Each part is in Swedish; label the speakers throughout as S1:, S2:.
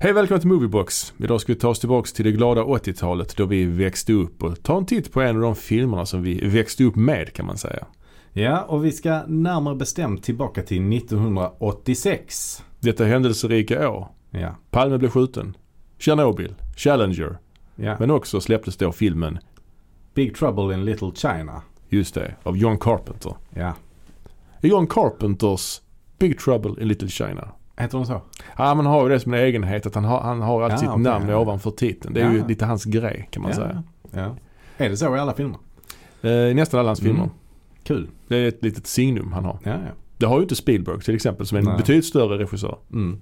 S1: Hej välkomna till Moviebox. Idag ska vi ta oss tillbaka till det glada 80-talet då vi växte upp och ta en titt på en av de filmerna som vi växte upp med kan man säga.
S2: Ja, och vi ska närmare bestämt tillbaka till 1986.
S1: Detta händelserika år.
S2: Ja,
S1: Palme blev skjuten. Tjernobyl. Challenger.
S2: ja.
S1: Men också släpptes då filmen,
S2: Big Trouble in Little China.
S1: just det, av John Carpenter.
S2: Ja.
S1: Är John Carpenters Big Trouble in Little China.
S2: Heter de så?
S1: Ja, man har ju det som en egenhet att han har, han har alltid
S2: Ja,
S1: sitt
S2: okej,
S1: namn
S2: ja.
S1: ovanför titeln. Det är
S2: Ja.
S1: ju lite hans grej kan man
S2: ja.
S1: säga.
S2: ja. Är det så i alla filmer?
S1: Eh, I nästan alla hans
S2: Mm.
S1: filmer.
S2: Kul.
S1: Det är ett litet signum han har.
S2: Ja, ja.
S1: Det har ju inte Spielberg till exempel som är en
S2: Nej.
S1: betydligt större regissör.
S2: Mm.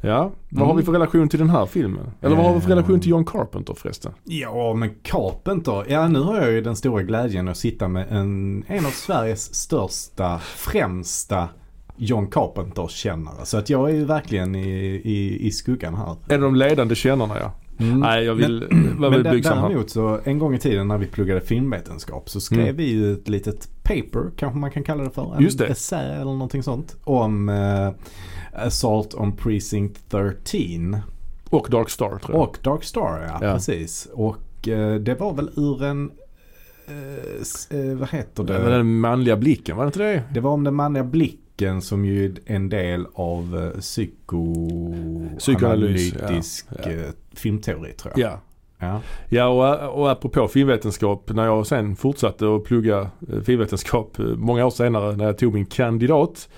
S1: Ja, vad
S2: Mm.
S1: har vi för relation till den här filmen? Eller vad har vi för
S2: Eh.
S1: relation till John Carpenter förresten?
S2: Ja, men Carpenter. Ja, nu har jag ju den stora glädjen att sitta med en, en av Sveriges största, främsta John Carpenter-kännare. Så att jag är ju verkligen i, i, i skuggan här. Mm.
S1: Är det de ledande kännarna ja? Mm. Nej, jag vill vara
S2: Men
S1: väl
S2: dä-
S1: blygsam här.
S2: däremot så en gång i tiden när vi pluggade filmvetenskap så skrev
S1: Mm.
S2: vi ju ett litet paper, kanske man kan kalla det för. En
S1: Just det.
S2: essä eller någonting sånt. Om eh, Assault on Precinct 13
S1: Och Dark Star tror jag.
S2: och Dark Star. Ja,
S1: Ja.
S2: precis. Och eh, det var väl ur en, eh, s- eh, vad heter
S1: Det var
S2: det?
S1: den manliga blicken, var det inte det?
S2: Det var om den manliga blicken som ju är en del av eh, psyko-
S1: Psykoanalys, ja.
S2: analytisk, eh, filmteori tror jag.
S1: Ja.
S2: Ja.
S1: Ja och, och apropå filmvetenskap, när jag sen fortsatte att plugga eh, filmvetenskap eh, många år senare när jag tog min kandidat.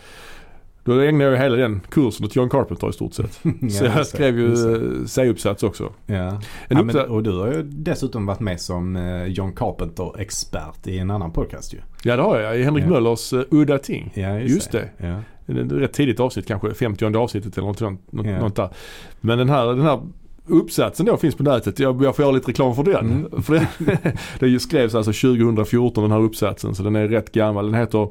S1: Då ägnade jag hela den kursen åt John Carpenter i stort sett. Så
S2: Ja,
S1: jag
S2: just det,
S1: skrev ju
S2: just det.
S1: eh, C-uppsats också.
S2: Ja.
S1: En
S2: ja
S1: uppsa-
S2: men, och du har ju dessutom varit med som eh, John Carpenter-expert i en annan podcast ju.
S1: Ja det har jag, i Henrik
S2: Ja.
S1: Möllers eh, Udda ting.
S2: Ja,
S1: Just det.
S2: Ja.
S1: Det är ett Rätt tidigt avsnitt kanske, 50 avsnittet eller något, sånt, något,
S2: Ja.
S1: något där. Men den här, den här uppsatsen då finns på nätet. Jag, jag får göra lite reklam för den.
S2: Mm.
S1: För det, det ju skrevs alltså 2014 den här uppsatsen så den är rätt gammal. Den heter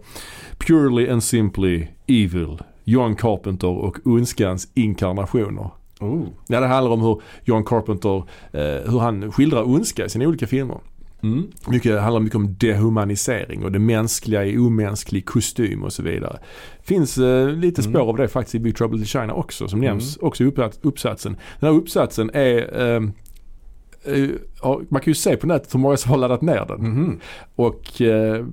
S1: Purely and Simply Evil. John Carpenter och ondskans inkarnationer.
S2: Oh.
S1: Ja, det handlar om hur John Carpenter, eh, hur han skildrar ondska i sina olika filmer.
S2: Mm.
S1: Mycket, handlar mycket om dehumanisering och det mänskliga i omänsklig kostym och så vidare. Finns eh, lite spår
S2: Mm.
S1: av det faktiskt i Big Trouble in China också som nämns också i uppsats, uppsatsen. Den här uppsatsen är ehm, eh, ja, man kan ju se på nätet hur många som har laddat ner den.
S2: Mhm.
S1: Och eh,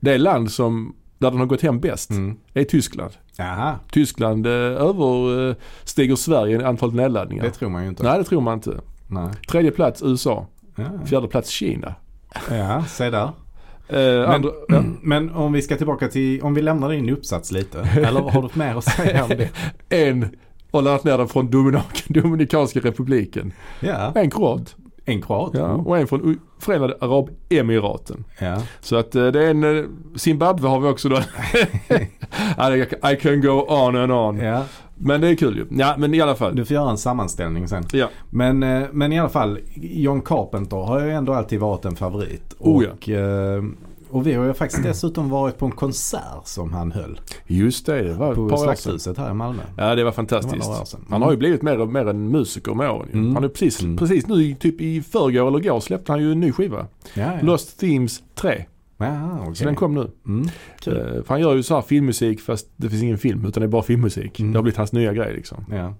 S1: det land som, där den har gått hem bäst
S2: Mm.
S1: är Tyskland.
S2: Jaha,
S1: Tyskland eh, överstiger Sverige i antalet nedladdningar.
S2: det tror man ju inte. Mm.
S1: Nej det tror man inte.
S2: Nej.
S1: Tredje plats USA.
S2: Ja.
S1: Fjärde plats Kina.
S2: ja, se där. Mm.
S1: Eh, andra, ja.
S2: Men om vi ska tillbaka till, om vi lämnar din uppsats lite. Eller har du mer att säga om det?
S1: en har laddat ner den från Dominik- Dominikanska republiken.
S2: Ja,
S1: En kroat
S2: en kroat.
S1: ja, och en från U- Förenade Arabemiraten.
S2: Ja.
S1: Så att eh, det är en... eh, Zimbabwe har vi också då. Ja, jag kan- I can go on and on.
S2: ja.
S1: Men det är kul ju. Ja men i alla fall.
S2: Du får göra en sammanställning sen.
S1: Ja.
S2: Men, eh, men i alla fall, John Carpenter har ju ändå alltid varit en favorit.
S1: Oh ja.
S2: och, eh, och vi har ju faktiskt dessutom varit på en konsert som han höll
S1: Just det, det var ett
S2: på
S1: par år sedan.
S2: Slagshuset här i Malmö.
S1: Ja det var
S2: Det var
S1: fantastiskt.
S2: några år sedan.
S1: Han har ju blivit mer och mer en musiker med åren ju.
S2: Mm.
S1: Han är precis,
S2: Mm.
S1: precis nu, i- typ i förrgår eller igår släppte han ju en ny skiva.
S2: Mm. Ja, ja.
S1: Lost Themes 3.
S2: Ja, okej.
S1: Så den kom nu.
S2: Mm. Kul.
S1: Eh, För han gör ju så här filmmusik fast det finns ingen film utan det är bara filmmusik.
S2: Mm.
S1: Det har blivit hans nya grej liksom.
S2: Ja.
S1: Ja,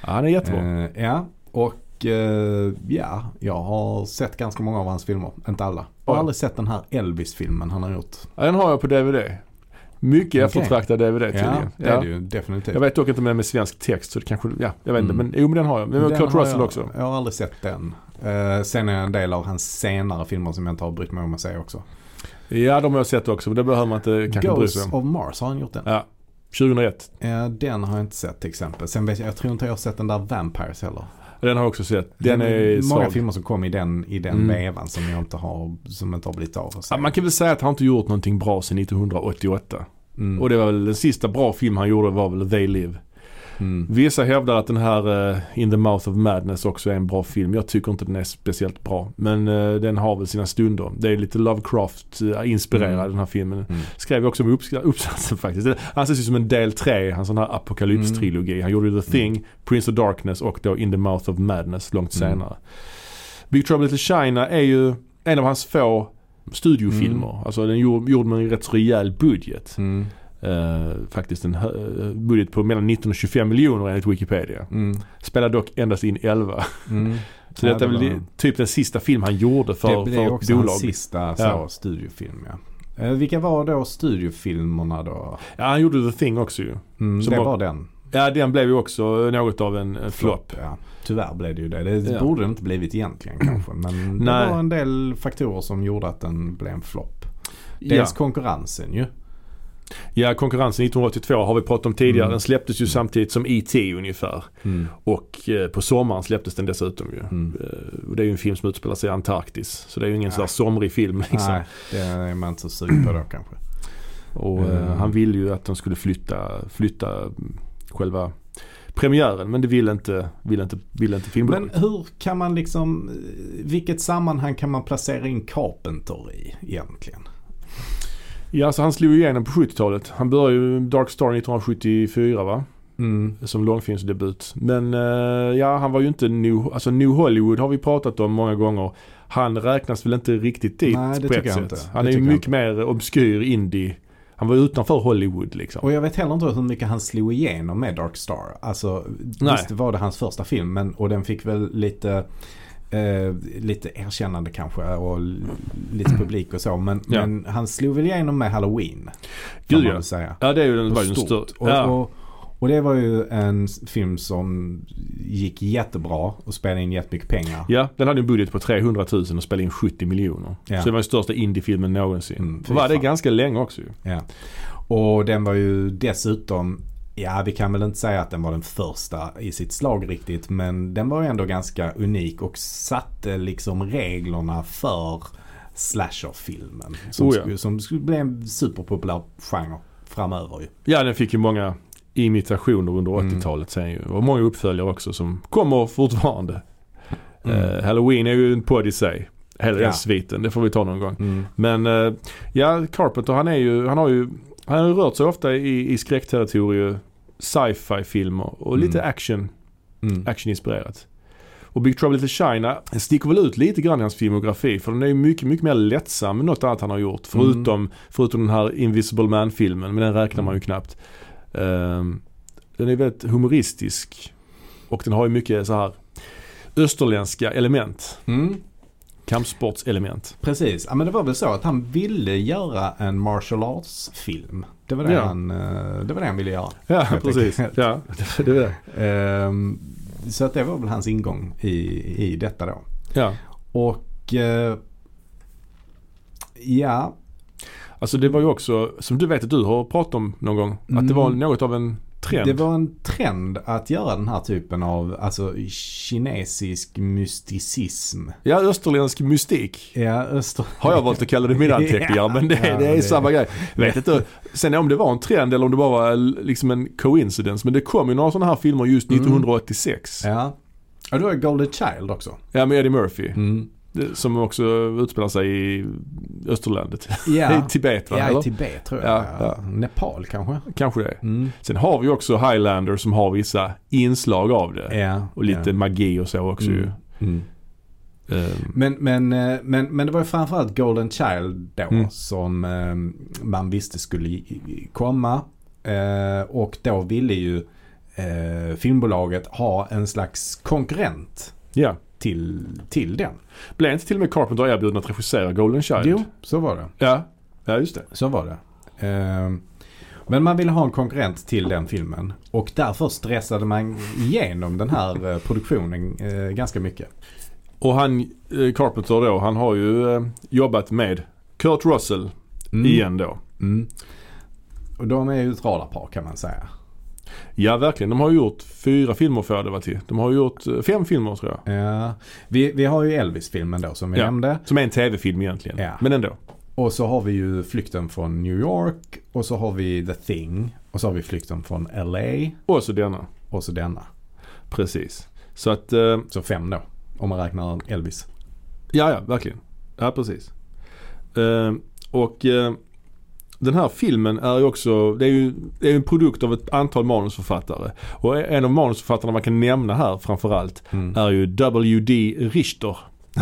S1: han är jättebra.
S2: Eh, ja, och eh, ja, jag har sett ganska många av hans filmer. Inte alla. Jag
S1: Oj.
S2: har aldrig sett den här Elvis-filmen han har gjort.
S1: Ja, Den har jag på DVD. Mycket
S2: Okej.
S1: eftertraktad DVD
S2: Ja,
S1: tydligen.
S2: det är det ju definitivt.
S1: Jag vet dock inte om den är med svensk text så det kanske, ja jag vet inte.
S2: Mm.
S1: Men jo men den har jag. Men
S2: Den
S1: Kurt
S2: har
S1: Russell
S2: jag,
S1: också.
S2: Jag har aldrig sett den. Eh, sen är jag en del av hans senare filmer som jag inte har brytt mig om att se också.
S1: Ja de har jag sett också men det behöver man inte kanske bry sig
S2: Ghosts
S1: om.
S2: of Mars, har han gjort den?
S1: Ja, 2001.
S2: Eh, den har jag inte sett till exempel. Sen vet jag, jag tror inte jag har sett den där Vampires heller.
S1: Den har jag också sett. Den, är
S2: många
S1: svag.
S2: filmer som kom i den, i den
S1: Mm.
S2: vevan som jag inte har, som inte har blivit av. att se.
S1: Ja, man kan väl säga att han inte gjort någonting bra sedan 1988.
S2: mm.
S1: Och det var väl den sista bra film han gjorde var väl They Live.
S2: mm.
S1: Vissa hävdar att den här eh, In the Mouth of Madness också är en bra film. Jag tycker inte den är speciellt bra. Men eh, den har väl sina stunder. Det är lite Lovecraft-inspirerad
S2: Mm.
S1: den här filmen.
S2: Mm.
S1: Skrev jag också om i uppska- uppsatsen faktiskt. Det anses ju som en del tre, hans sån här apokalypstrilogi.
S2: Mm.
S1: Han gjorde ju The Thing, Prince of Darkness och då In the Mouth of Madness långt
S2: Mm.
S1: senare. Big Trouble Little China är ju en av hans få studiofilmer. Alltså den är gjord, gjord med en rätt så rejäl budget.
S2: Mm.
S1: eh, faktiskt en hö- budget på mellan 19 och 25 miljoner enligt Wikipedia.
S2: Mm.
S1: Spelar dock endast in 11.
S2: Mm.
S1: Så
S2: Ja,
S1: detta är
S2: det
S1: väl
S2: var-
S1: i- typ den sista film han gjorde för,
S2: det, det är
S1: för ett
S2: också hans
S1: bolag.
S2: sista så,
S1: Ja.
S2: studiofilm ja. Eh, vilka var då studiofilmerna då?
S1: Ja, han gjorde The Thing också ju.
S2: Mm,
S1: Som
S2: det
S1: var-
S2: var den.
S1: Ja, den blev ju också något av en eh, flopp.
S2: Ja. Tyvärr blev det ju det. Det
S1: Ja.
S2: borde det inte blivit egentligen kanske. Men
S1: Nej.
S2: det var en del faktorer som gjorde att den blev en flopp. Dels
S1: Ja.
S2: konkurrensen ju.
S1: ja, konkurrensen 1982 har vi pratat om tidigare.
S2: Mm.
S1: Den släpptes ju samtidigt som E.T. ungefär.
S2: Mm.
S1: Och eh, på sommaren släpptes den dessutom ju.
S2: Mm.
S1: Eh, och det är ju en film som utspelar sig i Antarktis. Så det är ju ingen
S2: Nej.
S1: sån här somrig film liksom.
S2: Nej, det är man inte så sugen på då kanske.
S1: Och eh,
S2: Mm.
S1: han ville ju att de skulle flytta, flytta mm, själva premiären. Men det ville inte, ville inte, ville inte filmbolaget.
S2: Men hur kan man liksom, eh, vilket sammanhang kan man placera in Carpenter i egentligen?
S1: Ja, alltså han slog ju igenom på 70-talet. Han började ju Dark Star 1974 va?
S2: Mm.
S1: Som långfilmsdebut. Men eh, ja, han var ju inte New, alltså New Hollywood har vi pratat om många gånger. Han räknas väl inte riktigt dit
S2: Nej, det
S1: på ett
S2: tycker jag
S1: sätt.
S2: inte.
S1: Han
S2: Det
S1: är ju
S2: tycker jag
S1: mycket mer obskyr indie. Han var ju utanför Hollywood liksom.
S2: Och jag vet heller inte hur mycket han slog igenom med Dark Star. Alltså,
S1: Nej.
S2: visst var det hans första film men, och den fick väl lite, eh, lite erkännande kanske och l- lite publik och så. Men,
S1: Ja.
S2: men han slog väl igenom med Halloween. Kan
S1: Gud
S2: man
S1: ja.
S2: väl säga.
S1: Ja, det är ju den,
S2: Och
S1: var ju den
S2: stort.
S1: största.
S2: Och,
S1: Ja.
S2: och, och det var ju en s- film som gick jättebra och spelade in jättemycket pengar.
S1: ja, den hade ju en budget på 300 000 och spelade in 70 miljoner.
S2: Ja.
S1: Så det var den största indiefilmen någonsin.
S2: Mm,
S1: och var det
S2: fy fan.
S1: ganska länge också ju.
S2: Ja. Och den var ju dessutom, ja vi kan väl inte säga att den var den första i sitt slag riktigt, men den var ju ändå ganska unik och satte liksom reglerna för slasherfilmen. Som,
S1: Oh ja.
S2: skulle, som skulle bli en superpopulär genre framöver ju.
S1: Ja, den fick ju många imitationer under
S2: Mm.
S1: 80-talet sen ju. Och många uppföljare också som kommer fortfarande.
S2: Mm.
S1: Eh, Halloween är ju en podd i sig. Hela
S2: Ja.
S1: den sviten, det får vi ta någon gång. Men eh, ja, Carpenter han är ju, han har ju, han har ju rört sig ofta i, i skräckterritorium, sci-fi filmer och lite
S2: Mm.
S1: action,
S2: Mm.
S1: actioninspirerat. Och Big Trouble in Little China sticker väl ut lite grann i hans filmografi för den är ju mycket, mycket mer lättsam än något annat han har gjort.
S2: Mm.
S1: Förutom, förutom den här Invisible Man-filmen, men den räknar man ju knappt. Ehm, den är väldigt humoristisk och den har ju mycket så här österländska element,
S2: Mm.
S1: kampsportselement.
S2: Precis, ja, men det var väl så att han ville göra en martial arts-film. Det var det,
S1: Ja.
S2: han, eh, det var det han ville göra.
S1: Ja,
S2: Helt
S1: precis.
S2: enkelt.
S1: Ja, det, det är det.
S2: Ehm, så att det var väl hans ingång i, i detta då.
S1: Ja.
S2: Och eh, ja,
S1: Alltså det var ju också, som du vet att du har pratat om någon gång, att det
S2: Mm.
S1: var något av en trend.
S2: det var en trend att göra den här typen av alltså, kinesisk mysticism.
S1: Ja, österländsk mystik.
S2: Ja, öster...
S1: Har jag valt att kalla det i mina anteckningar
S2: Ja,
S1: men det,
S2: ja,
S1: det är
S2: det-
S1: samma grej. Vet inte, sen om det var en trend eller om det bara var liksom en coincidence. Men det kom ju några sådana här filmer just
S2: Mm.
S1: 1986.
S2: Ja. Ja, du har Golden Child också.
S1: Ja med Eddie Murphy.
S2: Mm.
S1: Det- Som också utspelar sig i österlandet.
S2: Ja.
S1: I Tibet va?
S2: Ja, i
S1: eller?
S2: Tibet tror jag.
S1: Ja,
S2: Nepal kanske?
S1: Kanske det.
S2: Mm.
S1: Sen har vi ju också Highlander som har vissa inslag av det.
S2: Ja.
S1: Och lite
S2: ja.
S1: magi och så också ju.
S2: Mm. Mm.
S1: Ehm,
S2: Men, men, eh, men, men det var ju framförallt Golden Child då
S1: Mm.
S2: som eh, man visste skulle i- i- komma. Eh, Och då ville ju eh, filmbolaget ha en slags konkurrent
S1: Ja.
S2: till, till den.
S1: Blev inte till och med Carpenter erbjuden att regissera Golden Child?
S2: Jo, så var det.
S1: Ja, ja just det.
S2: Så var det. Eh, Men man ville ha en konkurrent till den filmen och därför stressade man igenom den här eh, produktionen eh, ganska mycket.
S1: Och han, eh, Carpenter då, han har ju eh, jobbat med Kurt Russell
S2: Mm.
S1: igen då.
S2: Mm. Och de är ju ett radarpar kan man säga.
S1: Ja verkligen, de har ju gjort fyra filmer får jag det vara till. De har ju gjort eh, fem filmer tror jag.
S2: Ja, Eh, vi, vi har ju Elvis-filmen då som vi
S1: Ja.
S2: nämnde.
S1: Som är en tv-film egentligen.
S2: Ja.
S1: Men ändå.
S2: Och så har vi ju Flykten från New York. Och så har vi The Thing. Och så har vi Flykten från LA.
S1: Och så denna.
S2: Och så denna.
S1: Precis. Så att, eh,
S2: Så fem då. Om man räknar Elvis.
S1: ja ja, verkligen. Ja precis. Eh, och eh, den här filmen är ju också, det är ju, det är ju en produkt av ett antal manusförfattare. Och en av manusförfattarna man kan nämna här framförallt
S2: Mm.
S1: är ju W.D. Richter.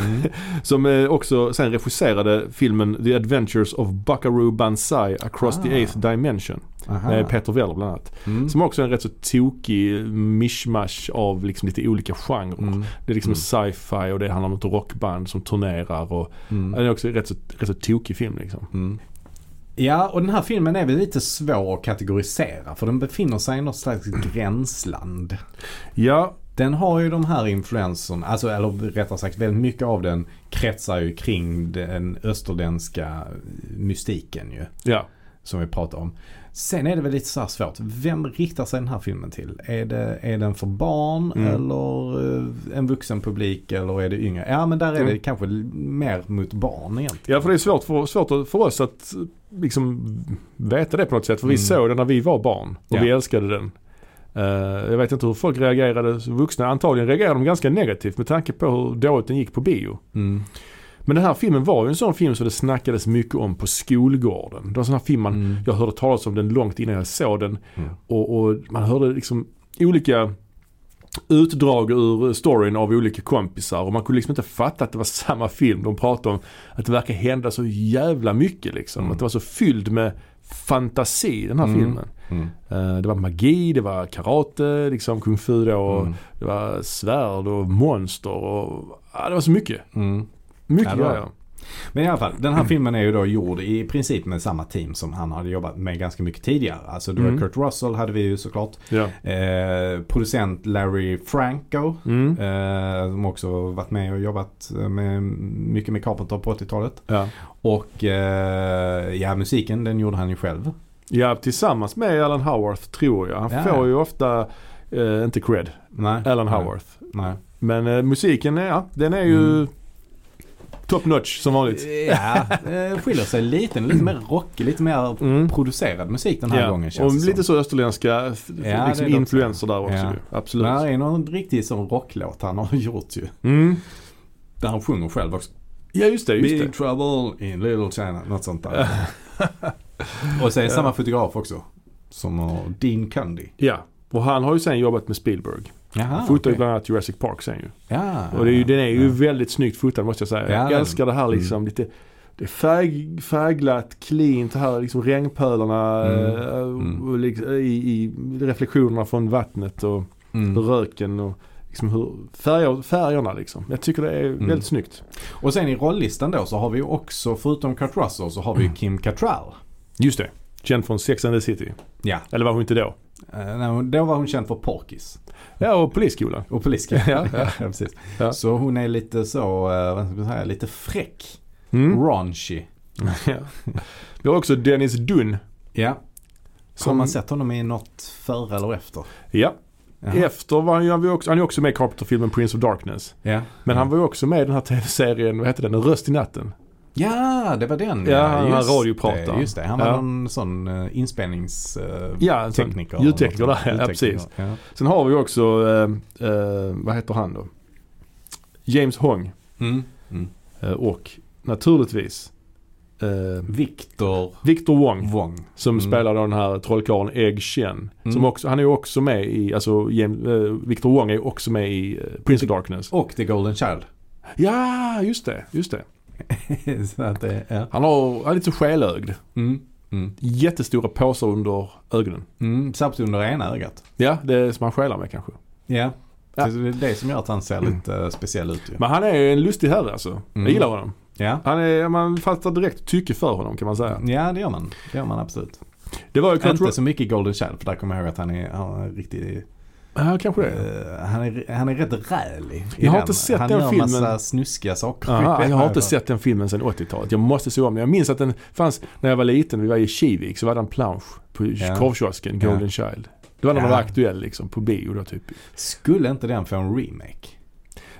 S2: Mm.
S1: Som eh, också sen regisserade filmen The Adventures of Buckaroo Banzai Across
S2: Ah.
S1: the Eighth Dimension.
S2: Aha.
S1: med Peter Weller bland annat.
S2: Mm.
S1: Som också är en rätt så tokig mishmash av liksom lite olika genrer.
S2: Mm.
S1: Det är liksom sci-fi och det handlar om ett rockband som turnerar och
S2: Mm.
S1: det är också en rätt så, rätt så tokig film liksom.
S2: Mm. Ja, och den här filmen är väl lite svår att kategorisera för den befinner sig i något slags gränsland.
S1: Ja,
S2: Den har ju de här influenserna, alltså eller rättare sagt väldigt mycket av den kretsar ju kring den österländska mystiken ju.
S1: ja.
S2: Som vi pratar om. Sen är det väl lite så här svårt. Vem riktar sig den här filmen till? Är, det, är den för barn
S1: Mm.
S2: eller eh, en vuxen publik eller är det yngre? Ja men där är det
S1: Mm.
S2: kanske l- mer mot barn egentligen.
S1: Ja för det är svårt för, svårt att- för oss att liksom veta det på något sätt. För vi
S2: Mm.
S1: såg den när vi var barn och
S2: Ja.
S1: vi älskade den. Eh, jag vet inte hur folk reagerade, vuxna antagligen reagerade de ganska negativt med tanke på hur dåligt den gick på bio.
S2: Mm.
S1: Men den här filmen var ju en sån film som det snackades mycket om på skolgården. Det var en sån här film man,
S2: Mm.
S1: jag hörde talas om den långt innan jag såg den.
S2: Mm.
S1: Och, och man hörde liksom olika utdrag ur storyn av olika kompisar och man kunde liksom inte fatta att det var samma film de pratade om. Att det verkar hända så jävla mycket liksom.
S2: Mm.
S1: Att det var så fylld med fantasi den här
S2: Mm.
S1: filmen.
S2: Mm.
S1: Eh, Det var magi, det var karate, liksom kung fu då, och
S2: Mm.
S1: det var svärd och monster och ja, det var så mycket.
S2: Mm.
S1: Mycket
S2: Ja, det var
S1: grejer.
S2: Men i alla fall, den här filmen är ju då gjord i princip med samma team som han hade jobbat med ganska mycket tidigare. Alltså det var
S1: Mm.
S2: Kurt Russell hade vi ju såklart.
S1: Ja.
S2: Eh, producent Larry Franco.
S1: Mm.
S2: Eh, som också varit med och jobbat eh, med, mycket med Carpenter på 80-talet.
S1: Ja.
S2: Och eh, ja, musiken den gjorde han ju själv.
S1: ja, tillsammans med Alan Howarth tror jag. Han
S2: Ja, ja.
S1: får ju ofta, eh, inte cred,
S2: Nej.
S1: Alan
S2: Nej.
S1: Howarth.
S2: Nej.
S1: Men eh, musiken, är- ja, den är ju
S2: Mm.
S1: top notch som vanligt.
S2: Ja, eh, skiljer sig lite. Lite mer rockig, lite mer
S1: Mm.
S2: producerad musik den här
S1: ja.
S2: gången
S1: Och
S2: känns det
S1: lite
S2: som.
S1: så österländska f-
S2: det är
S1: liksom
S2: det också.
S1: influenser där också
S2: Ja.
S1: ju. Absolut.
S2: Men här är någon riktig sån rocklåt han har gjort ju.
S1: Mm.
S2: Där han sjunger själv också.
S1: Ja just det, just
S2: Big
S1: det.
S2: trouble in little China. Något sånt där. och så är det samma fotograf också. Som har Dean Cundy.
S1: Ja. Och han har ju sen jobbat med Spielberg.
S2: Jaha,
S1: Han Fotade ju
S2: Ah, okej. Ah,
S1: bland annat Jurassic Park sen ju.
S2: Ja.
S1: Och det är ju, den är ju
S2: ja.
S1: väldigt snyggt fotad måste jag säga.
S2: Ja,
S1: jag
S2: den- Mm.
S1: älskar det här liksom lite det är färg, färgglatt, cleant, det här liksom regnpölarna
S2: Mm.
S1: eh, och-
S2: Mm.
S1: och liksom, i, i reflektionerna från vattnet och
S2: Mm.
S1: röken och liksom hur, färger, färgerna liksom. Jag tycker det är väldigt snyggt.
S2: Och sen i rolllistan då så har vi ju också, förutom Kurt Russell, så har
S1: Mm.
S2: vi ju Kim Cattrall.
S1: Just det. Känd från Sex and the City.
S2: Ja.
S1: Eller var hon inte då?
S2: Eh, nej, hon- Då var hon känd för Porkis
S1: Ja, och Polisskolan.
S2: och Poliska.
S1: Ja,
S2: ja, precis.
S1: Ja.
S2: Så hon är lite så, eh, vad ska man säga, lite fräck.
S1: Mm.
S2: Raunchy.
S1: Ja. Vi har också Dennis Dunn.
S2: Ja. Har
S1: Som,
S2: man sett honom i något före eller efter?
S1: ja.
S2: Jaha.
S1: Efter var han ju han var ju också, han är också med i Carpenter-filmen Prince of Darkness.
S2: Ja.
S1: Men han var ju också med i den här tv-serien, vad hette den? En röst i natten.
S2: Ja, det var den.
S1: Ja, han
S2: just
S1: var radiopratare.
S2: det, Just det, han var
S1: Ja.
S2: någon sån eh, inspelnings... eh,
S1: Ja, en sån
S2: tekniker.
S1: ljudtekniker
S2: Något
S1: där,
S2: sånt.
S1: ja,
S2: Ljudtekniker,
S1: precis.
S2: ja.
S1: Sen har vi också, eh, eh, vad heter han då? James Hong.
S2: Mm. Mm.
S1: Eh, och naturligtvis eh,
S2: Victor
S1: Victor Wong.
S2: Wong.
S1: Som
S2: Mm.
S1: spelar då den här trollkarlen Egg Chen. Som
S2: Mm.
S1: också, han är ju också med i, alltså James, eh, Victor Wong är ju också med i eh, Prince of Darkness.
S2: Och The Golden Child.
S1: Ja, just det, just det.
S2: så att det, ja.
S1: Han har, han är lite så skelögd.
S2: Mm. Mm.
S1: Jättestora påsar under ögonen.
S2: Mm. Samt under ena ögat.
S1: Ja, det är som han skelar med kanske.
S2: Ja.
S1: Ja. Mm.
S2: Så det är det som gör att han ser lite eh, speciell ut ju.
S1: Men han är ju en lustig herre alltså. Jag
S2: Mm.
S1: gillar honom.
S2: Ja.
S1: Han är, man fattar direkt tycke för honom kan man säga.
S2: ja, det gör man. Det gör man absolut.
S1: Det var ju Kurt
S2: Inte
S1: Russell.
S2: så mycket i Golden Child för där kommer jag ihåg att han är, han är riktigt...
S1: Ja, kanske det.
S2: Eh, han, är, han är rätt rälig. i
S1: Jag har
S2: den.
S1: inte sett
S2: han
S1: den
S2: gör massa
S1: filmen.
S2: snuskiga saker.
S1: Aha, jag har inte sett den filmen sedan 80-talet. Jag måste se om den. Jag minns att den fanns när jag var liten. Vi var i Kivik så var det en plansch på
S2: Ja.
S1: korvkiosken, Golden Child. Det var när den
S2: Ja.
S1: var aktuell liksom på bio då typ.
S2: Skulle inte den få en remake?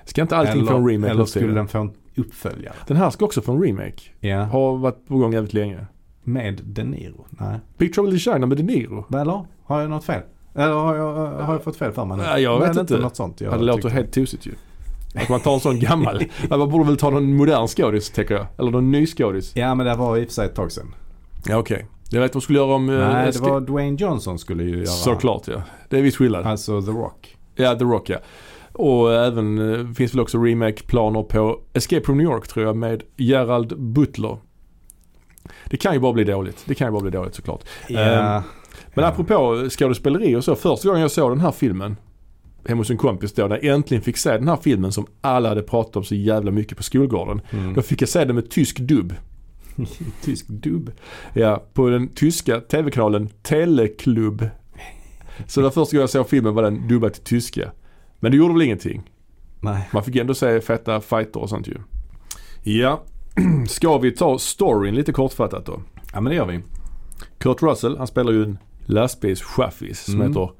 S1: Ska inte allting få en remake
S2: Eller
S1: nu för
S2: skulle
S1: tiden?
S2: den få en uppföljare?
S1: Den här ska också få en remake.
S2: Ja.
S1: Har varit på gång jävligt länge.
S2: Med De Niro? Nej.
S1: Big Trouble in China med De Niro.
S2: Eller? Har jag något fel? Eller har jag, har jag fått fel för mig nu?
S1: Nej, jag
S2: Men
S1: vet
S2: inte.
S1: inte.
S2: Något sånt. Jag
S1: Ja, det låter
S2: tyckte-
S1: helt tosigt ju. Att man tar en sån gammal. Ja, Man borde väl ta någon modern skådis tänker jag. Eller någon ny skådis.
S2: Ja men det var i och för sig ett tag sedan.
S1: Ja okej. Jag vet de skulle göra om... eh,
S2: Nej det
S1: sk-
S2: var Dwayne Johnson skulle ju göra.
S1: Såklart ja. Det är viss skillnad.
S2: Alltså The Rock.
S1: Ja, The Rock ja. Och även eh, finns väl också remake-planer på Escape from New York tror jag med Gerald Butler. Det kan ju bara bli dåligt. Det kan ju bara bli dåligt såklart.
S2: Ja.
S1: Ehm, Men
S2: Mm.
S1: apropå skådespeleri och så. Första gången jag såg den här filmen hemma hos en kompis då, när jag äntligen fick se den här filmen som alla hade pratat om så jävla mycket på skolgården. Då
S2: Mm.
S1: fick jag se den med tysk dubb.
S2: Tysk dubb.
S1: Ja, på den tyska tv-kanalen Teleklubb. Så den första gången jag såg filmen var den dubbad till tyska. Men det gjorde väl ingenting.
S2: Nej.
S1: Man fick ändå se feta fighter och sånt ju. Ja, ska vi ta storyn lite kortfattat då?
S2: Ja men det gör vi.
S1: Kurt Russell, han spelar ju en lastbilschaffis som
S2: Mm.
S1: heter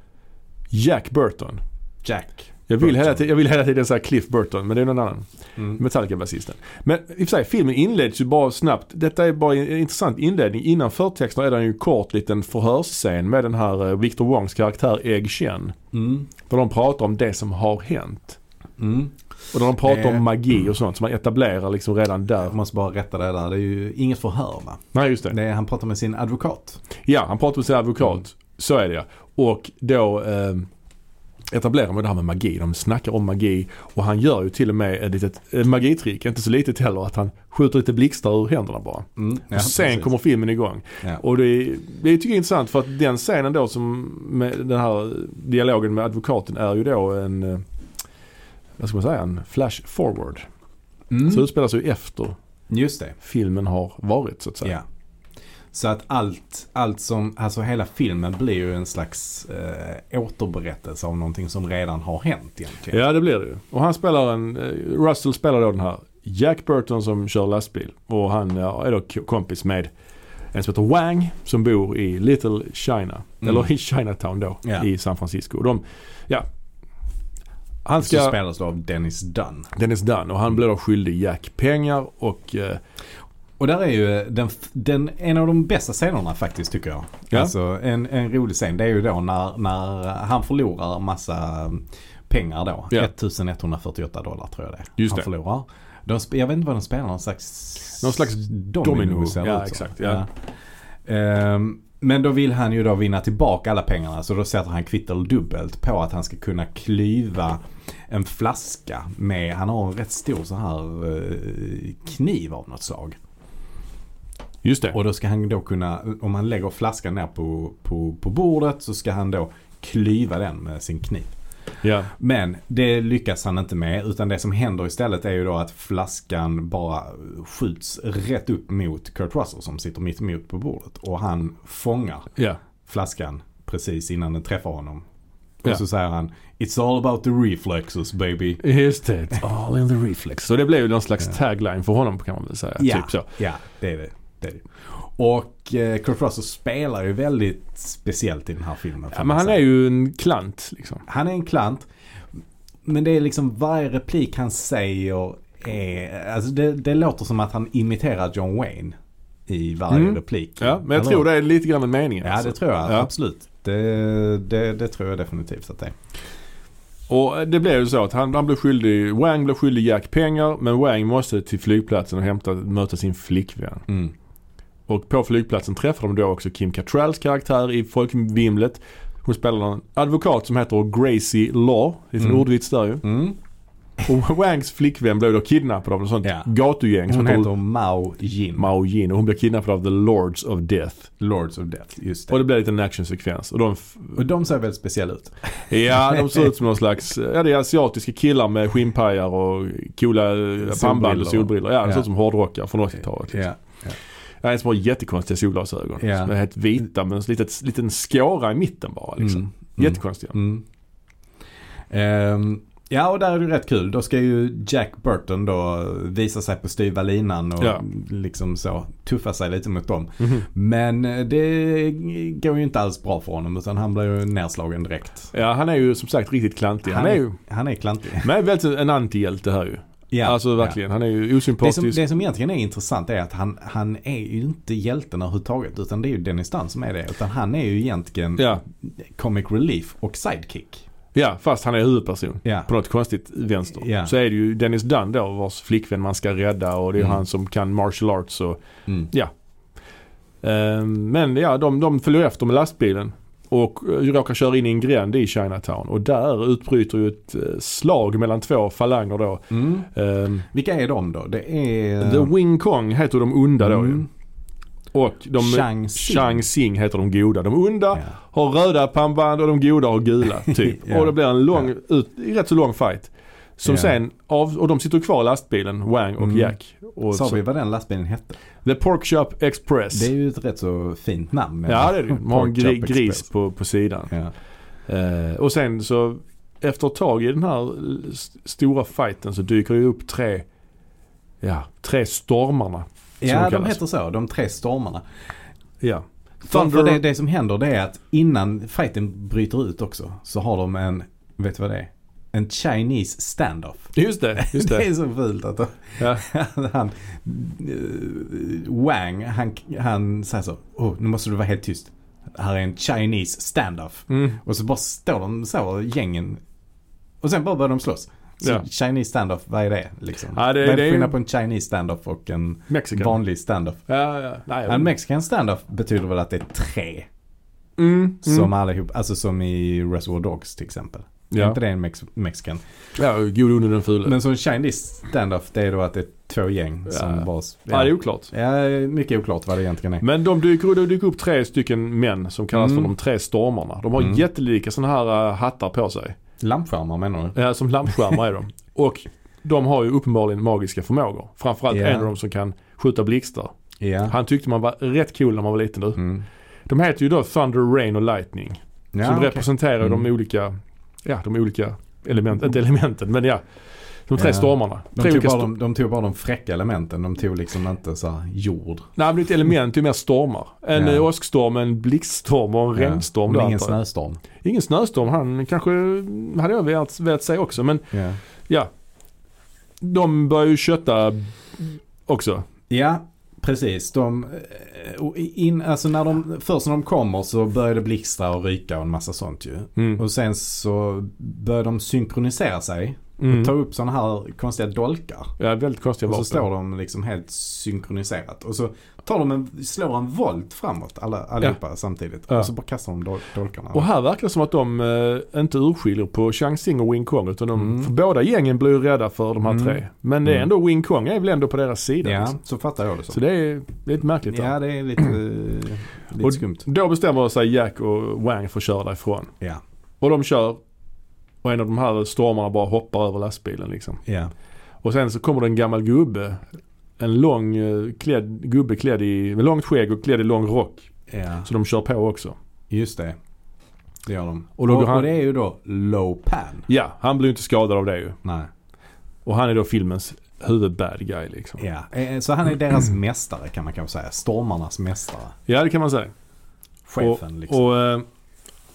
S1: Jack Burton.
S2: Jack.
S1: Jag vill,
S2: Burton.
S1: hela tiden, jag vill hela tiden säga Cliff Burton, men det är någon annan.
S2: Mm.
S1: Metallica-basisten. Men i och för sig, filmen inleds ju bara snabbt. Detta är bara en intressant inledning. Innan förtexterna är det en kort liten förhörsscen med den här eh, Victor Wongs karaktär Egg Chen.
S2: Mm.
S1: Där de pratar om det som har hänt.
S2: Mm.
S1: Och där de pratar
S2: Eh.
S1: om magi och sånt som man etablerar liksom redan där.
S2: Jag måste bara rätta det där. Det är ju inget förhör va?
S1: Nej, just det.
S2: Det är, han pratar med sin advokat.
S1: Ja, han pratar med sin advokat.
S2: Mm.
S1: Så är det ja. Och då eh, etablerar man det här med magi. De snackar om magi och han gör ju till och med ett litet eh, magitrick, inte så litet heller, att han skjuter lite blixtar ur händerna bara.
S2: Mm. Ja,
S1: och sen
S2: precis.
S1: kommer filmen igång.
S2: Ja.
S1: Och det, är- det tycker jag är intressant för att den scenen då som med den här dialogen med advokaten är ju då en, eh, vad ska man säga, en flash forward.
S2: Mm.
S1: Så utspelar sig ju efter
S2: Just det.
S1: filmen har varit så att säga.
S2: Ja. Så att allt, allt som, alltså hela filmen blir ju en slags eh, återberättelse av någonting som redan har hänt egentligen.
S1: Ja det blir det ju. Och han spelar en, eh, Russell spelar då den här Jack Burton som kör lastbil. Och han ja, är då k- kompis med en som heter Wang som bor i Little China.
S2: Mm.
S1: Eller i Chinatown då
S2: Ja.
S1: i San Francisco. Och de, ja. Han
S2: Som
S1: ska,
S2: spelas då av Dennis Dunn.
S1: Dennis Dunn
S2: Mm.
S1: och han blir då skyldig Jack pengar och eh,
S2: Och där är ju eh, den, f- den, en av de bästa scenerna faktiskt tycker jag.
S1: Ja.
S2: Alltså en, en rolig scen. Det är ju då när, när han förlorar massa mm, pengar då.
S1: Ja.
S2: 1148 dollar tror jag det är.
S1: Just
S2: han
S1: det.
S2: förlorar. De, sp- jag vet inte vad de spelar. Någon slags
S1: Någon slags domino.
S2: ser det
S1: Ja,
S2: ut som.
S1: exakt, ja.
S2: Ja. Ehm, men då vill han ju då vinna tillbaka alla pengarna så då sätter han kvitton dubbelt på att han ska kunna klyva en flaska med, han har en rätt stor så här eh, kniv av något slag.
S1: just det.
S2: Och då ska han då kunna, om han lägger flaskan ner på, på, på bordet så ska han då klyva den med sin kniv.
S1: ja.
S2: Men det lyckas han inte med utan det som händer istället är ju då att flaskan bara skjuts rätt upp mot Kurt Russell som sitter mitt emot på bordet. Och han fångar
S1: Ja.
S2: flaskan precis innan den träffar honom.
S1: Ja.
S2: Och så säger han It's all about the reflexes baby.
S1: Just det. It's all in the reflex. Så det blev ju någon slags tagline för honom kan man väl säga.
S2: Ja,
S1: Typ så.
S2: ja det är det. det, är det. Och eh, Kurt Russell spelar ju väldigt speciellt i den här filmen. får
S1: Ja, men
S2: man
S1: han
S2: säga.
S1: är ju en klant liksom.
S2: Han är en klant. Men det är liksom varje replik han säger är... Alltså det, det låter som att han imiterar John Wayne i varje
S1: Mm.
S2: replik.
S1: Ja, men jag
S2: Eller?
S1: tror det är lite grann en mening.
S2: Ja,
S1: alltså.
S2: det tror jag.
S1: Ja.
S2: Absolut. Det, det, det tror jag definitivt att det är.
S1: Och eh, det blev ju så att han, han blev skyldig, Wang blev skyldig Jack pengar men Wang måste till flygplatsen och hämta, möta sin flickvän.
S2: Mm.
S1: Och på flygplatsen träffar de då också Kim Cattralls karaktär i folkvimlet. Hon spelar en advokat som heter Gracie Law. Liten
S2: Mm.
S1: ordvits där ju.
S2: Mm.
S1: Och Wangs flickvän blev då kidnappad av ett sånt
S2: Ja.
S1: gatugäng som
S2: Hon
S1: heter
S2: heter Mao Jin.
S1: Mao Jin och hon blev kidnappad av The Lords of Death.
S2: Lords of Death. Just
S1: Och
S2: det. Och,
S1: det blev en liten actionsekvens. Och de, f-
S2: de ser väldigt speciella ut.
S1: ja, de ser ut som någon slags, ja det är asiatiska killar med skinnpajar och coola eh, pannband och solbrillor. Ja, de ser
S2: Ja.
S1: ut som hårdrockare från 80-talet. Liksom.
S2: Ja.
S1: Ja, en som har jättekonstiga solglasögon.
S2: Ja.
S1: Som är helt vita med en litet, liten skåra i mitten bara. Liksom.
S2: Mm. Mm.
S1: Jättekonstiga.
S2: Mm. Ehm, ja, och där är det rätt kul. Då ska ju Jack Burton då visa sig på styva linan och
S1: Ja.
S2: liksom så tuffa sig lite mot dem.
S1: Mhm.
S2: Men eh, det går ju inte alls bra för honom utan han blir ju nedslagen direkt.
S1: Ja, han är ju som sagt riktigt klantig. Han,
S2: Han
S1: är ju,
S2: Han är klantig.
S1: men är väldigt en antihjälte här ju.
S2: Ja,
S1: alltså verkligen. Han är ju
S2: Ja. Det, som,
S1: osympatisk.
S2: det som egentligen är intressant är att han, han är ju inte hjälten överhuvudtaget utan det är ju Dennis Dunn som är det. Utan han är ju egentligen
S1: Ja.
S2: comic relief och sidekick.
S1: ja, fast han är huvudperson.
S2: Ja,
S1: På något konstigt vänster.
S2: Ja.
S1: Så är det ju Dennis Dunn då vars flickvän man ska rädda och det är
S2: Mm.
S1: han som kan martial arts och
S2: mm.
S1: Ehm, Men ja, de, de följer efter med lastbilen och eh, råkar köra in i en gränd i Chinatown. Och där utbryter ju ett eh, slag mellan två falanger då.
S2: Mm.
S1: Ehm,
S2: Vilka är de då? Det är...
S1: The Wing Kong heter de onda då ju.
S2: Mm.
S1: Och de,
S2: Chang Sing.
S1: Chang Sing heter de goda. De onda
S2: Ja.
S1: har röda pannband och de goda har gula typ.
S2: Ja.
S1: Och det blir en lång, ut, rätt så lång fight. Som
S2: Ja.
S1: sen, av, och de sitter kvar i lastbilen, Wang och
S2: Mm.
S1: Jack. Och
S2: Sa
S1: så-
S2: vi vad den lastbilen hette?
S1: The Pork Shop Express.
S2: Det är ju ett rätt så fint namn. men-
S1: ja det är det ju. De har en
S2: Pork Chop
S1: gri, gris
S2: Express.
S1: på, på sidan.
S2: Ja.
S1: Eh, och sen så efter ett tag i den här st- stora fighten så dyker det upp tre, ja, tre stormarna.
S2: Ja,
S1: de
S2: de
S1: kallas.
S2: heter så. De tre stormarna.
S1: Ja.
S2: För,
S1: Thunder-
S2: för det, det som händer det är att innan fighten bryter ut också så har de en, vet du vad det är? En Chinese standoff.
S1: Just det, just
S2: Det
S1: det.
S2: är så fult att
S1: Ja.
S2: han, eh, Wang, han, han säger så. Oh, nu måste du vara helt tyst. Här är en Chinese standoff.
S1: Mm.
S2: Och så bara står de så, gängen. Och sen bara börjar de slåss. Så
S1: Ja.
S2: Chinese standoff, vad är det liksom?
S1: Ja, det-
S2: vad är
S1: det är
S2: det
S1: ju-
S2: skillnad på en Chinese standoff och en
S1: Mexican. Mm.
S2: vanlig standoff?
S1: ja, ja. Nej,
S2: En mexican standoff betyder väl att det är tre
S1: mm,
S2: som
S1: mm.
S2: allihop, alltså som i Reservoir Dogs till exempel. Är
S1: Ja.
S2: inte det en mex- mexican?
S1: ja, god under den fule.
S2: Men som Chinese standoff det är då att det är två gäng
S1: Ja.
S2: som bara...
S1: Ja, det är oklart.
S2: Ja, mycket oklart vad det egentligen är.
S1: Men de dyker, det dyker upp tre stycken män som kallas
S2: Mm.
S1: för de tre stormarna. De har
S2: Mm.
S1: jättelika sådana här eh, hattar på sig.
S2: Lampskärmar menar du?
S1: Ja, som lampskärmar är de. Och de har ju uppenbarligen magiska förmågor. Framförallt
S2: Ja.
S1: en av dem som kan skjuta blixtar.
S2: Ja.
S1: Han tyckte man var rätt cool när man var liten nu.
S2: Mm.
S1: De heter ju då Thunder, Rain och Lightning.
S2: Ja,
S1: som
S2: okej.
S1: representerar
S2: Mm.
S1: de olika, ja de olika elementen, inte elementen men ja. De tre
S2: Ja.
S1: stormarna.
S2: De
S1: tre
S2: tog,
S1: olika
S2: bara
S1: sto-
S2: de, de tog bara de fräcka elementen. De tog liksom inte så här jord.
S1: Nej men det är ett element, det är mer stormar. En
S2: Ja.
S1: eh, åskstorm, en blixtstorm och en
S2: Ja.
S1: regnstorm.
S2: Men
S1: där,
S2: ingen
S1: antar jag.
S2: snöstorm.
S1: ingen snöstorm, han kanske hade jag velat, velat säga också men
S2: Ja.
S1: ja. De börjar ju kötta också.
S2: Ja, precis. De, eh, och in, alltså när de, först när de kommer så börjar det blixtra och ryka och en massa sånt ju.
S1: Mm.
S2: Och sen så börjar de synkronisera sig.
S1: Mm.
S2: Ta upp sådana här konstiga dolkar.
S1: Ja, väldigt konstiga
S2: Och så
S1: vapen.
S2: står de liksom helt synkroniserat. Och så tar de en, slår en volt framåt alla, allihopa samtidigt.
S1: Ja.
S2: Och så bara kastar de dol- dolkarna.
S1: Och här verkar det som att de eh, inte urskiljer på Chang Sing och Wing Kong utan de,
S2: Mm.
S1: för båda gängen blir ju rädda för de här
S2: Mm.
S1: tre. Men det är
S2: Mm.
S1: ändå Wing Kong är väl ändå på deras sida.
S2: ja,
S1: liksom.
S2: så fattar jag det så.
S1: Så det är lite märkligt. där.
S2: ja, det är lite, eh, lite
S1: Och-
S2: skumt.
S1: Då bestämmer sig Jack och Wang för att köra därifrån.
S2: Ja.
S1: Och de kör och en av de här stormarna bara hoppar över lastbilen liksom.
S2: Ja.
S1: Och sen så kommer det en gammal gubbe. En lång eh, klädd, gubbe klädd i, med långt skägg och klädd i lång rock.
S2: ja,
S1: Så de kör på också.
S2: just det. Det gör de.
S1: Och då går
S2: och,
S1: han-
S2: och det är ju då low pan.
S1: Ja, han blir ju inte skadad av det ju.
S2: Nej.
S1: Och han är då filmens huvud-bad guy liksom.
S2: Ja. Eh, Så han är deras mästare kan man kanske säga. Stormarnas mästare.
S1: Ja, det kan man säga.
S2: Chefen liksom.
S1: Och eh,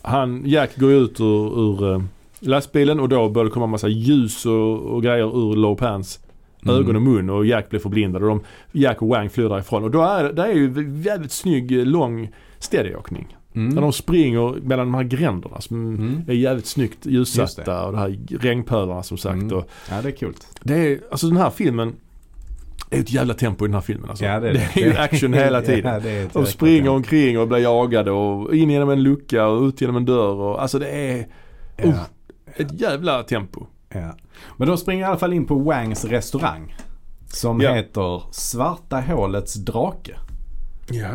S1: han, Jack går ju ut ur, ur eh, lastbilen och då börjar det komma massa ljus och, och grejer ur Lopans
S2: Mm.
S1: ögon och mun och Jack blir förblindad och de, Jack och Wang flyr därifrån. Och då är det är ju jävligt snygg eh, lång steadyåkning.
S2: Mm.
S1: När de springer mellan de här gränderna som
S2: Mm.
S1: är jävligt snyggt
S2: Just
S1: ljussatta och de här regnpölarna som sagt.
S2: Mm.
S1: Och
S2: Ja, det är coolt.
S1: det är, alltså den här filmen, det är ett jävla tempo i den här filmen alltså.
S2: Ja, det är det.
S1: är ju action hela tiden.
S2: Ja, det är ett
S1: Och
S2: jäkla
S1: springer
S2: tempo.
S1: omkring och blir jagade och in genom en lucka och ut genom en dörr. Och, alltså det är
S2: Ja,
S1: ett jävla tempo.
S2: ja. Men de springer i alla fall in på Wangs restaurang. Som
S1: Ja.
S2: heter Svarta hålets drake.
S1: Ja.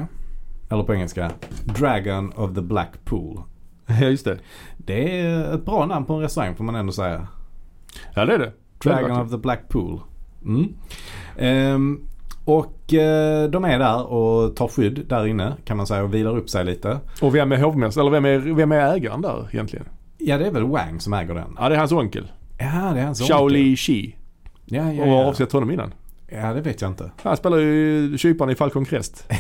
S2: Eller på engelska Dragon of the Black Pool.
S1: Ja just det.
S2: Det är ett bra namn på en restaurang får man ändå säga.
S1: Ja det är det.
S2: Dragon of the Black Pool. Mm. Ehm, och eh, de är där och tar skydd där inne kan man säga och vilar upp sig lite.
S1: Och vem är hovmästare, eller vem är, vem är ägaren där egentligen?
S2: Ja det är väl Wang som äger den.
S1: Ja det är hans onkel.
S2: Ja det är hans
S1: Shao
S2: onkel.
S1: Li Shi.
S2: Ja, ja,
S1: Och har
S2: ja.
S1: avsett honom innan.
S2: ja det vet jag inte.
S1: Han spelar ju kyparen i Falcon Crest.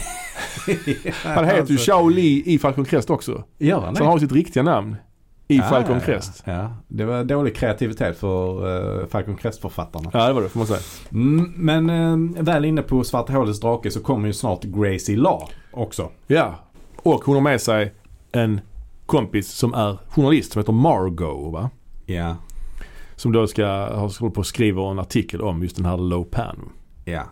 S1: Han heter ju Shao Li i Falcon Crest också.
S2: Alltså, Gör han
S1: Så han har ju sitt riktiga namn. I
S2: Ah.
S1: Falcon Crest.
S2: Ja, ja. Det var dålig kreativitet för eh, Falcon Crest-författarna.
S1: Ja det var det får man säga.
S2: Mm, men eh, väl inne på Svarta hålets drake så kommer ju snart Gracie Law också.
S1: Ja. Och hon har med sig en kompis som är journalist som heter Margot va?
S2: Ja,
S1: Som då ska, har håller på och skriver en artikel om just den här Lopan.
S2: ja.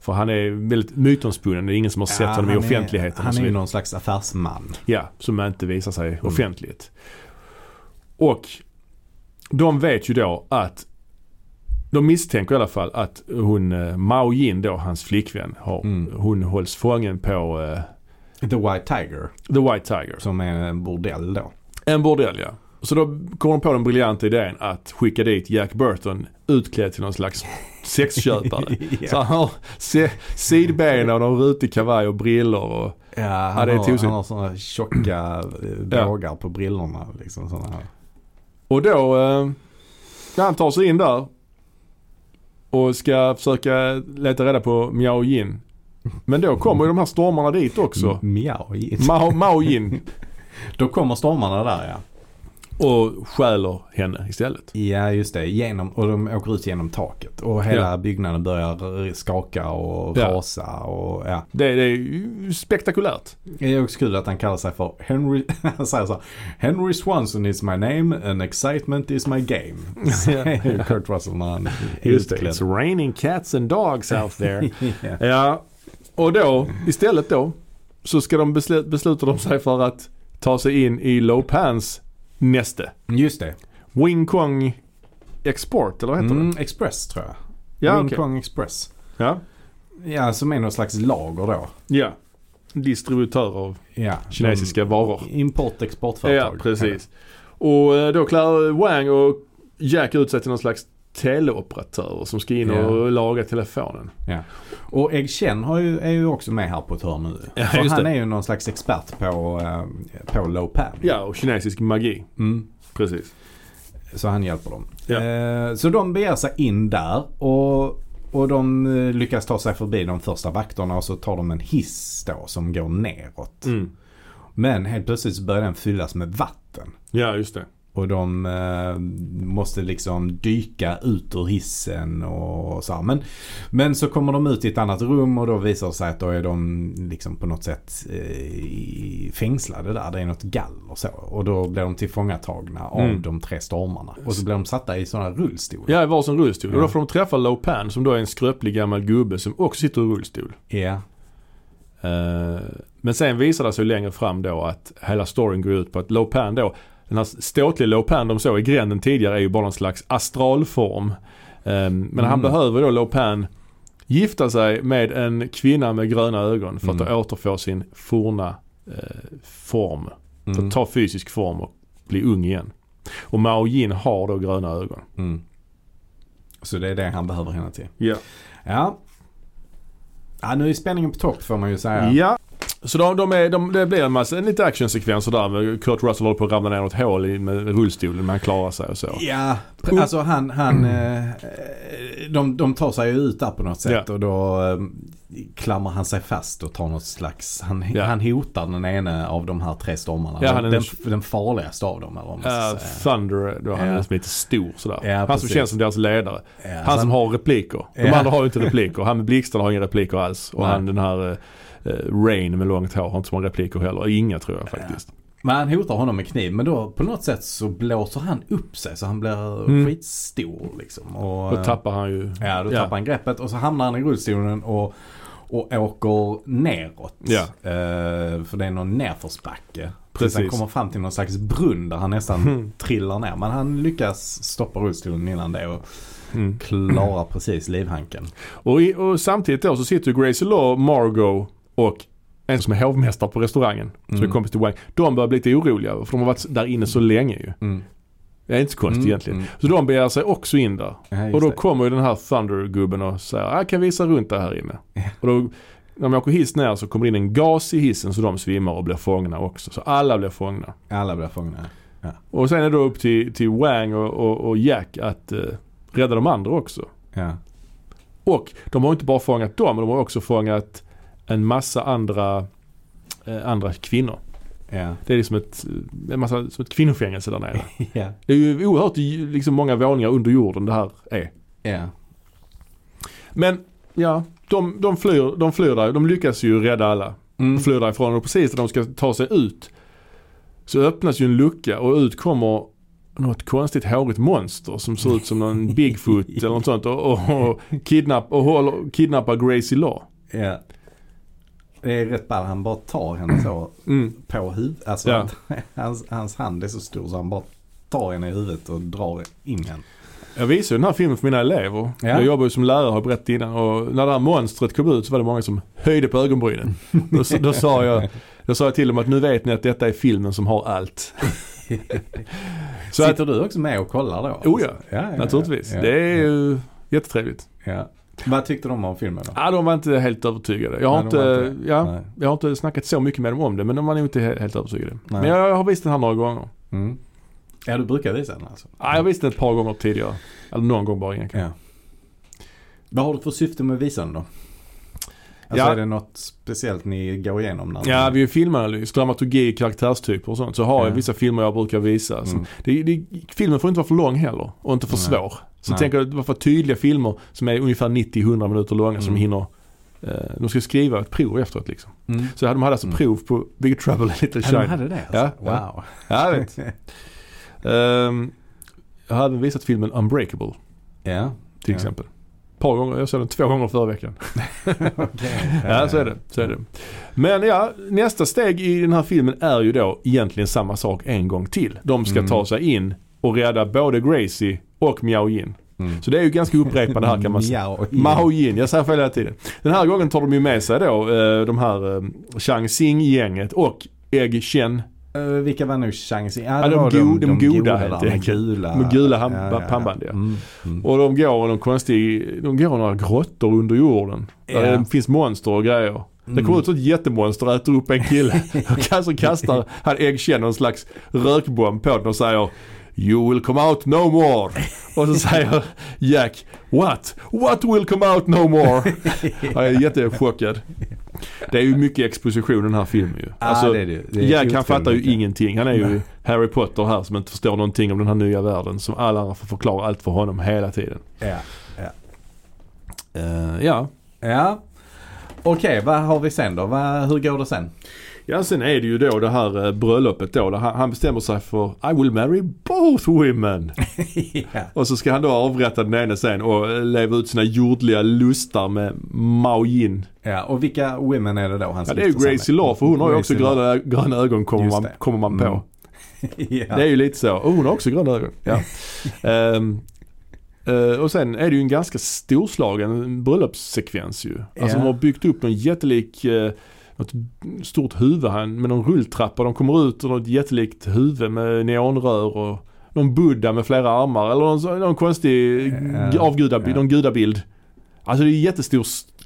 S1: För han är väldigt mytomspunnen. Det är ingen som har sett
S2: ja,
S1: honom i
S2: han är-
S1: offentligheten. och
S2: Han
S1: så
S2: är ju
S1: vidare.
S2: någon slags affärsman.
S1: Ja, som inte visar sig offentligt. Och de vet ju då att De misstänker i alla fall att hon, eh, Mao Jin då, hans flickvän, har,
S2: Mm.
S1: hon hålls fången på eh,
S2: The White Tiger,
S1: The White Tiger.
S2: som är en bordell då.
S1: En bordell ja. Så då kom de på den briljanta idén att skicka dit Jack Burton utklädd till någon slags sexköpare. Så
S2: ja.
S1: han har se- sidben och någon rutig kavaj och brillor och
S2: Ja, han,
S1: Ja, det är
S2: har,
S1: tusen.
S2: han har sådana tjocka eh, bågar på brillorna. Liksom, såna här.
S1: Och då, eh, när han tar sig in där och ska försöka leta reda på Miao Jin. Men då kommer ju de här stormarna dit också.
S2: M- Miau.
S1: Mao, Mao Jin
S2: Då kommer stormarna där ja.
S1: och stjäler henne istället.
S2: Ja just det, genom, och de åker ut genom taket. Och hela
S1: Ja.
S2: byggnaden börjar skaka och
S1: Ja.
S2: rasa. Och, ja.
S1: Det, det är ju spektakulärt.
S2: Det är också kul att han kallar sig för Henry, han säger så här, Henry Swanson is my name and excitement is my game. Säger Kurt Russell när han är utklädd.
S1: It's raining cats and dogs out there.
S2: Ja.
S1: ja, och då istället då så ska de beslu- beslutar de sig för att ta sig in i Lopans näste.
S2: Just det.
S1: Wing Kong Export, eller vad heter
S2: Mm,
S1: det?
S2: Express tror jag.
S1: Ja,
S2: Wing
S1: okej.
S2: Kong Express.
S1: Ja.
S2: Ja, som är någon slags lager då.
S1: ja. Distributör av
S2: Ja,
S1: kinesiska varor.
S2: de- Import
S1: Ja,
S2: exportföretag.
S1: precis. Och eh, då klär Wang och Jack ut sig till någon slags teleoperatörer som ska in
S2: Ja.
S1: och laga telefonen.
S2: Ja. Och Egg Chen har ju, är ju också med här på ett hörn nu.
S1: Ja,
S2: För
S1: just
S2: han
S1: det.
S2: är ju någon slags expert på, eh, på low pan.
S1: Ja, och kinesisk magi.
S2: Mm.
S1: Precis.
S2: Så han hjälper dem.
S1: Ja.
S2: Eh, så de beger sig in där och, och de eh, lyckas ta sig förbi de första vakterna och så tar de en hiss då som går neråt.
S1: Mm.
S2: Men helt plötsligt så börjar den fyllas med vatten.
S1: Ja, just det.
S2: Och de eh, måste liksom dyka ut ur hissen och så här. Men, men så kommer de ut i ett annat rum och då visar det sig att då är de liksom på något sätt eh, fängslade där. Det är något gall och så. Och då blir de tillfångatagna av
S1: Mm.
S2: de tre stormarna. Och så blir de satta i sådana rullstolar.
S1: Ja, i varsin rullstol. Och
S2: Ja.
S1: då får de träffa Lo Pan som då är en skröplig gammal gubbe som också sitter i rullstol.
S2: Ja.
S1: Eh, Men sen visar det sig längre fram då att hela storyn går ut på att Lo Pan då, den här ståtliga Lo Pan de såg i gränden tidigare är ju bara någon slags astralform. Eh, Men han
S2: Mm.
S1: behöver då Lo Pan gifta sig med en kvinna med gröna ögon för att
S2: Mm.
S1: då återfå sin forna eh, form. För
S2: Mm.
S1: att ta fysisk form och bli ung igen. Och Mao Jin har då gröna ögon.
S2: Mm. Så det är det han behöver henne till.
S1: Ja.
S2: Ja. Ja, nu är spänningen på topp får man ju säga.
S1: Ja. Så de, de är, de, det blir en massa en lite actionsekvenser där. Kurt Russell håller på att ramla ner i något hål i, med rullstolen men han klarar sig och så.
S2: Ja, pr- alltså han, han
S1: Mm.
S2: eh, de, de tar sig ju ut där på något sätt och då eh, klamrar han sig fast och tar något slags, han,
S1: Ja.
S2: han hotar den ene av de här tre stormarna.
S1: Ja, han är
S2: den,
S1: den-
S2: den, den farligaste av dem eller vad man ska
S1: Uh,
S2: säga.
S1: Thunder, då han
S2: Ja.
S1: är som lite stor sådär.
S2: Ja,
S1: han
S2: precis.
S1: som känns som deras ledare.
S2: Ja,
S1: Han som har repliker. De
S2: Ja.
S1: andra har ju inte repliker. Han med blixtarna har inga repliker alls. Och
S2: Nej.
S1: han den här eh, eh, Rain med långt hår har inte så många repliker heller. Inga tror jag faktiskt.
S2: Men han hotar honom med kniv men då på något sätt så blåser han upp sig så han blir
S1: Mm.
S2: skitstor liksom. Och,
S1: Då tappar han ju...
S2: Ja, då
S1: Ja.
S2: tappar han greppet och så hamnar han i rullstolen och, och åker neråt.
S1: Ja.
S2: Eh, för det är någon nedförsbacke. Tills
S1: Precis.
S2: han kommer fram till någon slags brunn där han nästan
S1: Mm.
S2: trillar ner. Men han lyckas stoppa rullstolen innan det och
S1: Mm.
S2: klarar precis livhanken.
S1: Och, i, och samtidigt då så sitter ju Gracie Law, Margot och en som är hovmästare på restaurangen. Som
S2: Mm.
S1: är kompis till Wang. De börjar bli lite oroliga för de har varit där inne så länge ju.
S2: Mm.
S1: Det är inte så konstigt
S2: Mm,
S1: egentligen.
S2: mm.
S1: Så de begär sig också in där.
S2: Ja, just
S1: Och då
S2: det.
S1: kommer ju den här Thunder-gubben och säger jag kan visa runt det här inne.
S2: Ja.
S1: Och då, när man åker hiss ner så kommer det in en gas i hissen så de svimmar och blir fångna också. Så alla blir fångna.
S2: Alla blir fångna.
S1: Och sen är det då upp till, till Wang och, och, och Jack att eh, rädda de andra också.
S2: Ja.
S1: Och de har inte bara fångat dem, de har också fångat en massa andra, eh, andra kvinnor.
S2: Ja.
S1: Det är liksom ett, eh, en massa, som ett kvinnofängelse där nere.
S2: ja.
S1: Det är ju oerhört ju- liksom, många våningar under jorden det här är.
S2: ja.
S1: Men ja, de, de, flyr, de flyr där. De lyckas ju rädda alla. De
S2: Mm.
S1: flyr därifrån och precis när de ska ta sig ut så öppnas ju en lucka och ut kommer något konstigt hårigt monster som ser ut som någon Bigfoot eller något sånt och, och, och, kidnapp, och håller, kidnappar Gracie Law.
S2: ja. Det är rätt ball. Han bara tar henne så
S1: Mm.
S2: på huvudet. Alltså
S1: Ja.
S2: hans, hans hand är så stor så han bara tar henne i huvudet och drar in henne.
S1: Jag visade ju den här filmen för mina elever.
S2: Ja.
S1: Jag jobbar ju som lärare har jag berättat innan och när det här monstret kom ut så var det många som höjde på ögonbrynen. då, s- då, sa jag, då sa jag till dem att nu vet ni att detta är filmen som har allt. så att,
S2: Sitter du också med och kollar då? Alltså,
S1: Oh ja,
S2: ja, ja
S1: naturligtvis.
S2: Ja,
S1: det är
S2: ja,
S1: ju jättetrevligt.
S2: ja. Vad tyckte de om filmen då?
S1: Ja, de var inte helt övertygade. Jag har,
S2: Nej, de var
S1: inte,
S2: inte det.
S1: ja,
S2: Nej.
S1: jag har inte snackat så mycket med dem om det men de var nog inte he- helt övertygade.
S2: Nej.
S1: Men jag har visst den här några gånger.
S2: Mm. Ja, du brukar visa den alltså?
S1: Ja, jag visste ett par gånger tidigare. Eller någon gång bara. Inga.
S2: Ja. Vad har du för syfte med att visa den då? Alltså
S1: Ja.
S2: är det något speciellt ni går igenom? När ni-
S1: Ja, vi är ju filmanalys, dramaturgi, karaktärstyper och sånt. Så har jag
S2: Alltså. Ja.
S1: vissa filmer jag brukar visa. Som,
S2: Mm.
S1: det, det, filmen får inte vara för lång heller och inte för
S2: Nej.
S1: svår. Så
S2: Nej.
S1: tänker jag, varför tydliga filmer som är ungefär 90-100 minuter långa som
S2: Mm.
S1: hinner eh, de ska skriva ett prov efteråt liksom.
S2: Mm.
S1: Så de hade alltså
S2: Mm.
S1: prov på Big Trouble in Little
S2: Ja, de
S1: China.
S2: hade det
S1: Ja,
S2: alltså?
S1: ja.
S2: Wow.
S1: Ja, jag vet. Ehm, jag har även visat filmen Unbreakable
S2: ja.
S1: till
S2: Ja.
S1: exempel. Ett par gånger, jag såg den två gånger förra veckan.
S2: Okej.
S1: Eh, Ja, så är det. Så är det. Men ja, nästa steg i den här filmen är ju då egentligen samma sak en gång till. De ska
S2: Mm.
S1: ta sig in och rädda både Gracie och Miao Jin.
S2: Mm.
S1: Så det är ju ganska upprepande här kan man säga.
S2: Miao.
S1: Mao Jin, jag säger fel hela tiden. Den här gången tar de ju med sig då eh, de här eh, Chang Xing-gänget och Egg Chen
S2: Eh, vilka var nu chansen?
S1: Ja, de
S2: var
S1: go- de goda helt
S2: där, de
S1: enkelt.
S2: gula.
S1: med gula ham- pannband. Ja.
S2: Mm. Mm.
S1: Och de går i någon konstig, de går i några grottor under jorden. Där
S2: Ja. Mm.
S1: det finns monster och grejer. Det kommer ut ett jättemonster och äter upp en kille. och alltså kastar han Egg Chen någon slags rökbomb på den och säger You will come out no more. Och så säger Jack What? What will come out no more? Jag är jättechockad. Det är ju mycket exposition i den här filmen ju.
S2: Ah,
S1: Alltså,
S2: det är det. Det är
S1: Jack han
S2: otroligt
S1: fattar ju
S2: mycket.
S1: ingenting. Han är ju Harry Potter här som inte förstår någonting om den här nya världen. Som alla andra får förklara allt för honom hela tiden.
S2: Ja.
S1: Eh, ja.
S2: ja. Okej, vad har vi sen då? Vad, hur går det sen?
S1: ja, sen är det ju då det här eh, bröllopet då. Där han, han bestämmer sig för I will marry both women.
S2: ja.
S1: Och så ska han då avrätta den ene sen och eh, leva ut sina jordliga lustar med Mao Yin.
S2: ja. Och vilka women är det då han
S1: Ja, det är ju
S2: gifta sig
S1: Gracie
S2: med?
S1: Law för hon har ju också
S2: Gracie Law.
S1: gröna, gröna ögon kommer
S2: Just
S1: man,
S2: det.
S1: kommer man på.
S2: Mm. ja.
S1: Det är ju lite så. Och hon har också gröna ögon. Ja. Ehm, eh, och sen är det ju en ganska storslagen bröllopssekvens ju. Alltså
S2: Ja.
S1: de har byggt upp en jättelik, uh, något stort huvud här med någon rulltrappa. De kommer ut och något jättelikt huvud med neonrör och någon buddha med flera armar eller någon, så- någon konstig
S2: Ja.
S1: uh, avgudabild,
S2: Ja.
S1: någon gudabild. Alltså det är jättestor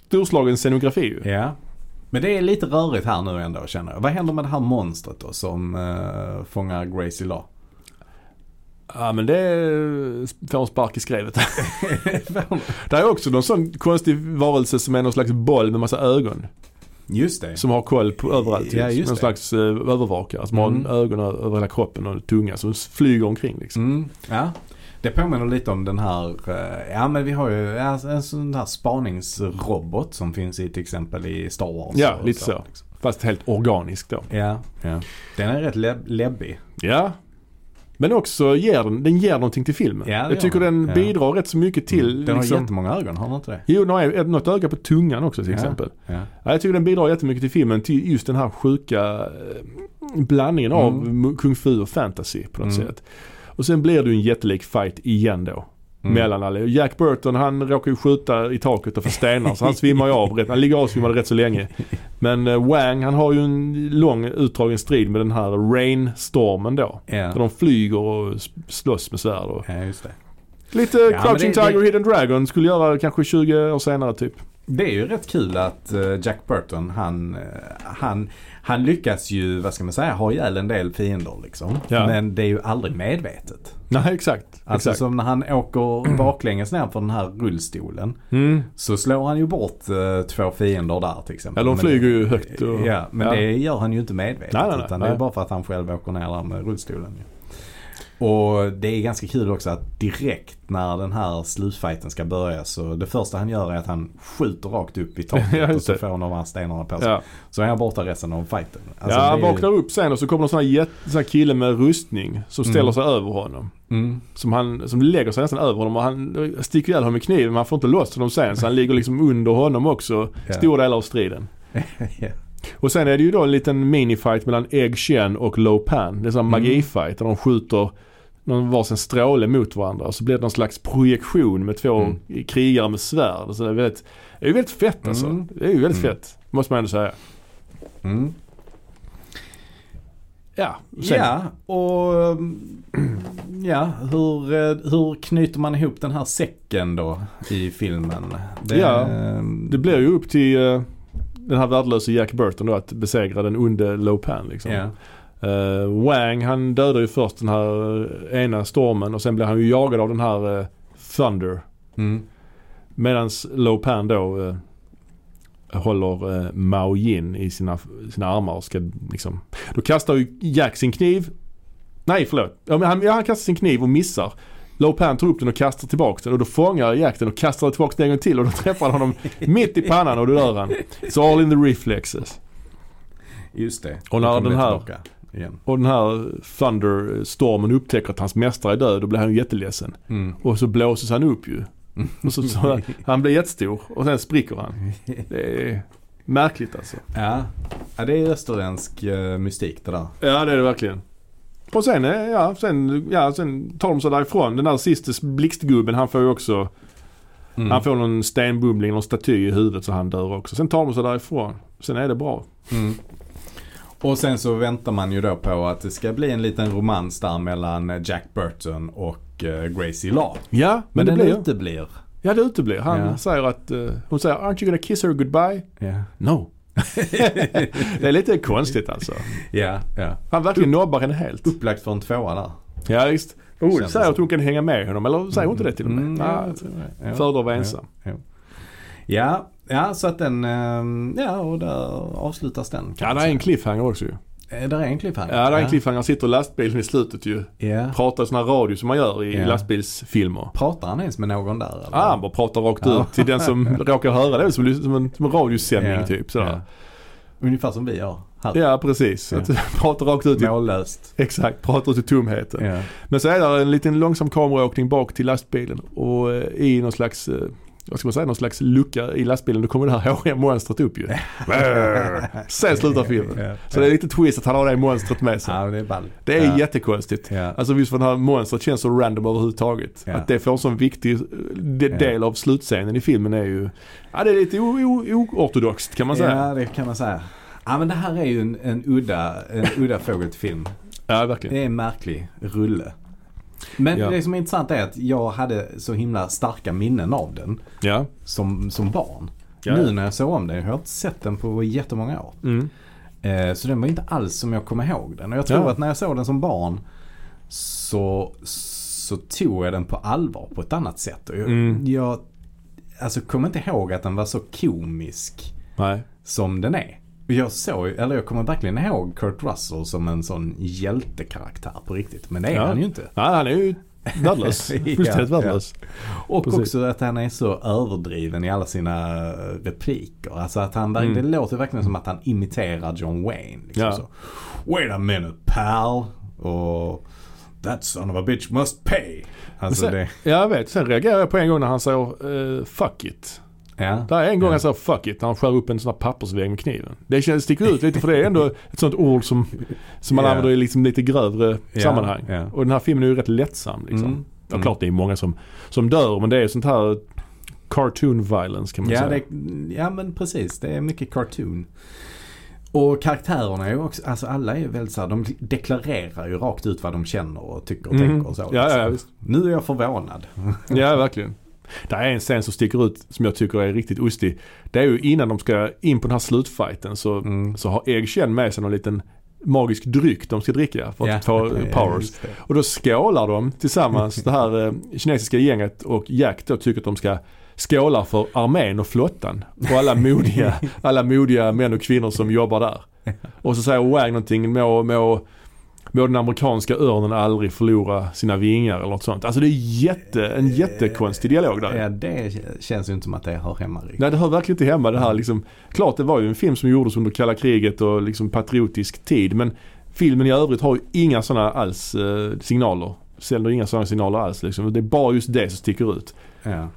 S1: storslagen scenografi ju.
S2: Ja. Men det är lite rörigt här nu ändå känner jag. Vad händer med det här monstret då som uh, fångar Gracie Law?
S1: Ja men det får en spark i skrevet. Det är också någon sån konstig varelse som är någon slags boll med massa ögon.
S2: Just det.
S1: Som har koll på överallt.
S2: Ja, just
S1: någon
S2: det.
S1: slags eh, övervakare som
S2: Mm.
S1: har ögon ö- över hela kroppen och tunga som s- flyger omkring liksom.
S2: Mm, ja. Det påminner lite om den här, eh, ja men vi har ju ja, alltså, en sån här spaningsrobot som finns i till exempel i Star Wars.
S1: Ja,
S2: och
S1: lite så.
S2: liksom.
S1: Fast helt organiskt då.
S2: Ja, ja. Den är rätt leb- läbbig.
S1: Ja. Men också ger den, den ger någonting till filmen.
S2: Ja, det gör
S1: Jag tycker
S2: den.
S1: den
S2: Ja.
S1: bidrar rätt så mycket till
S2: Mm. Den har
S1: liksom,
S2: jättemånga ögon, har den inte det?
S1: Jo, den har ett- något öga på tungan också till
S2: Ja.
S1: exempel.
S2: Ja. Mm.
S1: Ja, jag tycker den bidrar jättemycket till filmen, till just den här sjuka eh, blandningen av mu- kung fu och fantasy på något
S2: Mm.
S1: sätt. Och sen blir det ju en jättelik fight igen då.
S2: Mm.
S1: Mellan alla. Jack Burton han råkar ju skjuta i taket och få stenar så han svimmar ju av. rätt- Han ligger avsvimmad rätt så länge. Men eh, Wang han har ju en lång utdragen strid med den här Rainstormen då. Där
S2: Ja.
S1: de flyger och s- slåss med svärd. Och.
S2: ja, just det.
S1: Lite
S2: men
S1: Crouching
S2: det- det-
S1: Tiger Hidden Dragon skulle göra kanske 20 år senare typ.
S2: Det är ju rätt kul att eh, Jack Burton han, eh, han, han lyckas ju, vad ska man säga, ha ihjäl en del fiender liksom.
S1: Ja.
S2: Men det är ju aldrig medvetet.
S1: Nej exakt.
S2: Alltså
S1: exakt.
S2: som när han åker baklänges ner för den här rullstolen.
S1: Mm.
S2: Så slår han ju bort eh, två fiender där till exempel.
S1: Ja, de
S2: Men-
S1: flyger ju högt och-
S2: Ja, men
S1: ja.
S2: det gör han ju inte medvetet.
S1: Nej, nej, nej.
S2: utan det är
S1: Nej.
S2: bara för att han själv åker ner där med rullstolen. ju. Och det är ganska kul också att direkt när den här slutfighten ska börja så det första han gör är att han skjuter rakt upp i taket
S1: Ja, just
S2: och så
S1: det.
S2: får han de här stenarna på sig.
S1: Ja.
S2: Så är han borta resten av fighten. Alltså,
S1: ja, han
S2: det är ju-
S1: vaknar upp sen och så kommer det en sån här, jätte, sån här kille med rustning som ställer
S2: Mm.
S1: sig över honom.
S2: Mm.
S1: Som, han, som lägger sig nästan över honom och han sticker ihjäl honom med kniven men han får inte loss honom sen så han ligger liksom under honom också
S2: Ja.
S1: stor del av striden.
S2: ja.
S1: Och sen är det ju då en liten minifight mellan Egg Chen och Lo Pan. Det är en sån här
S2: Mm.
S1: magifight där de skjuter någon varsin stråle mot varandra och så blir det någon slags projektion med två
S2: Mm.
S1: krigare med svärd. Så det, är väldigt, det är ju väldigt fett alltså.
S2: Mm.
S1: Det är ju väldigt
S2: Mm.
S1: fett, måste man ändå säga.
S2: Mm.
S1: Ja, sen,
S2: Ja, och mm, ja, hur, eh, hur knyter man ihop den här säcken då i filmen?
S1: Ja,
S2: eh,
S1: det blir ju upp till eh, den här värdelöse Jack Burton då att besegra den onde Lo Pan liksom.
S2: Ja.
S1: Eh, Wang han dödar ju först den här eh, ena stormen och sen blir han ju jagad av den här eh, Thunder.
S2: Mm.
S1: Medan Lo Pan då eh, håller eh, Mao Yin i sina, sina armar och ska liksom... Då kastar ju Jack sin kniv. Nej förlåt. Ja, men han, ja, han kastar sin kniv och missar. Lo Pan tar upp den och kastar tillbaka den och då fångar Jack den och kastar tillbaka den en gång till och då träffar han honom mitt i pannan och då dör han. It's all in the reflexes.
S2: Just det.
S1: Och när
S2: Då kommer
S1: den
S2: det
S1: här-
S2: tillbaka Igen.
S1: Och den här Thunderstormen upptäcker att hans mästare är död, då blir han ju jätteledsen.
S2: Mm.
S1: Och så blåses han upp ju. Och så, så, han blir jättestor och sen spricker han. Det är märkligt alltså.
S2: Ja. ja, det är österländsk eh, mystik det där.
S1: Ja det är det verkligen. Och sen, eh, ja, sen, ja, sen tar de sig därifrån. Den där sista blixtgubben han får ju också,
S2: Mm.
S1: han får någon stenbumling, någon staty i huvudet så han dör också. Sen tar de sig därifrån. Sen är det bra.
S2: Mm. Och sen så väntar man ju då på att det ska bli en liten romans där mellan eh, Jack Burton och eh, Gracie Law.
S1: Ja, men,
S2: Men,
S1: det
S2: den
S1: blir
S2: uteblir.
S1: Ja det uteblir. Han
S2: Ja.
S1: säger att, eh, hon säger “Aren't you gonna kiss her goodbye?”
S2: Ja,
S1: No. det är lite konstigt alltså.
S2: ja. ja.
S1: Han verkligen nobbar henne helt.
S2: Upplagt för en tvåa där.
S1: Ja visst. Hon
S2: Kändes
S1: säger att
S2: så.
S1: hon kan hänga med honom, eller säger hon inte det till och med?
S2: Mm, ja,
S1: Nej,
S2: jag tror det. Ja.
S1: föredrar att vara ensam.
S2: Ja, ja så att den, ehm, ja och där avslutas den.
S1: Ja, det är en cliffhanger också ju.
S2: en, där är en cliffhanger.
S1: Ja, det är en cliffhanger. Han sitter i lastbilen i slutet ju.
S2: Ja.
S1: Pratar sån här radio som man gör i
S2: Ja.
S1: lastbilsfilmer.
S2: Pratar han ens med någon där? Eller?
S1: Ah, han bara pratar rakt
S2: Ja.
S1: ut till den som råkar höra det. Som, som, en, som en radiosändning
S2: Ja.
S1: typ. Sådär.
S2: Ungefär som vi gör här.
S1: Ja. typ. precis.
S2: Ja.
S1: Att, pratar rakt ut i,
S2: Mållöst.
S1: Exakt, pratar ut i tomheten.
S2: Ja.
S1: Men så är det en liten långsam kameraåkning bak till lastbilen och eh, i någon slags, eh, vad ska man säga, någon slags lucka i lastbilen då kommer det här håriga monstret upp ju. Brr. Sen slutar filmen.
S2: Ja.
S1: Så det är lite twist att han har det monstret med sig.
S2: Ja, det är ball.
S1: Det är
S2: ja.
S1: jättekonstigt.
S2: Ja.
S1: Alltså just för det här monstret känns så random överhuvudtaget.
S2: Ja.
S1: Att det får en sån viktig eh, de-
S2: Ja.
S1: del av slutscenen i filmen är ju, ja det är lite o- o- oortodoxt kan man säga.
S2: Ja, det kan man säga. Ja, men det här är ju en, en udda, en udda fågelfilm.
S1: Ja, verkligen.
S2: Det är en märklig rulle. Men
S1: Ja.
S2: det som är intressant är att jag hade så himla starka minnen av den
S1: Ja.
S2: som, som barn.
S1: Ja.
S2: Nu när jag såg om den, jag har inte sett den på jättemånga år.
S1: Mm.
S2: Eh, Så den var inte alls som jag kom ihåg den. Och jag tror
S1: Ja.
S2: att när jag såg den som barn så, så tog jag den på allvar på ett annat sätt. Och jag,
S1: Mm.
S2: jag alltså, kommer inte ihåg att den var så komisk
S1: Nej.
S2: som den är. Och Jag såg, eller jag kommer verkligen ihåg Kurt Russell som en sån hjältekaraktär på riktigt. Men det är
S1: Ja.
S2: han ju inte.
S1: Nej, han är ju värdelös.
S2: Ja,
S1: Fullständigt
S2: ja.
S1: värdelös.
S2: Och
S1: Precis.
S2: också att han är så överdriven i alla sina eh, repliker. Alltså att han,
S1: Mm.
S2: det låter verkligen som att han imiterar John Wayne. Liksom
S1: Ja.
S2: så. Wait a minute pal. Och that son of a bitch must pay. Alltså
S1: Men sen,
S2: det,
S1: Ja, jag vet. Sen reagerar jag på en gång när han säger eh, 'fuck it'.
S2: ja.
S1: Det är en gång han säger 'fuck it' när han skär upp en sån här pappersvägg med kniven. Det känns, sticker ut lite för det är ändå ett sånt ord som, som man
S2: Ja.
S1: använder i liksom lite grövre
S2: Ja,
S1: sammanhang.
S2: ja.
S1: Och den här filmen är ju rätt lättsam liksom.
S2: Mm,
S1: Ja,
S2: mm.
S1: klart det är många som, som dör men det är sånt här cartoon violence kan man
S2: Ja,
S1: säga.
S2: det, ja men precis. Det är mycket cartoon. Och karaktärerna är ju också, alltså alla är ju väldigt så här, de deklarerar ju rakt ut vad de känner och tycker och
S1: Mm.
S2: tänker och så.
S1: Ja, ja, ja,
S2: liksom.
S1: visst.
S2: Nu är jag förvånad.
S1: Ja, verkligen. Det är en scen som sticker ut som jag tycker är riktigt ostig. Det är ju innan de ska in på den här slutfighten så,
S2: Mm.
S1: så har Egg Chen med sig någon liten magisk dryck de ska dricka för att
S2: Ja.
S1: få
S2: Ja,
S1: powers.
S2: just det.
S1: Och då skålar de tillsammans, det här eh, kinesiska gänget och Jack då tycker att de ska skåla för armén och flottan. Och alla modiga, alla modiga män och kvinnor som jobbar där. Och så säger Wang någonting, må, må, må den amerikanska örnen aldrig förlora sina vingar eller något sånt. Alltså det är jätte, en jättekonstig dialog där.
S2: Ja, det känns ju inte som att det hör hemma riktigt.
S1: Nej det hör verkligen inte hemma det här liksom. Klart det var ju en film som gjordes under kalla kriget och liksom patriotisk tid men filmen i övrigt har ju inga sådana alls eh, signaler. Sänder inga sådana signaler alls liksom. Det är bara just det som sticker ut.
S2: Ja.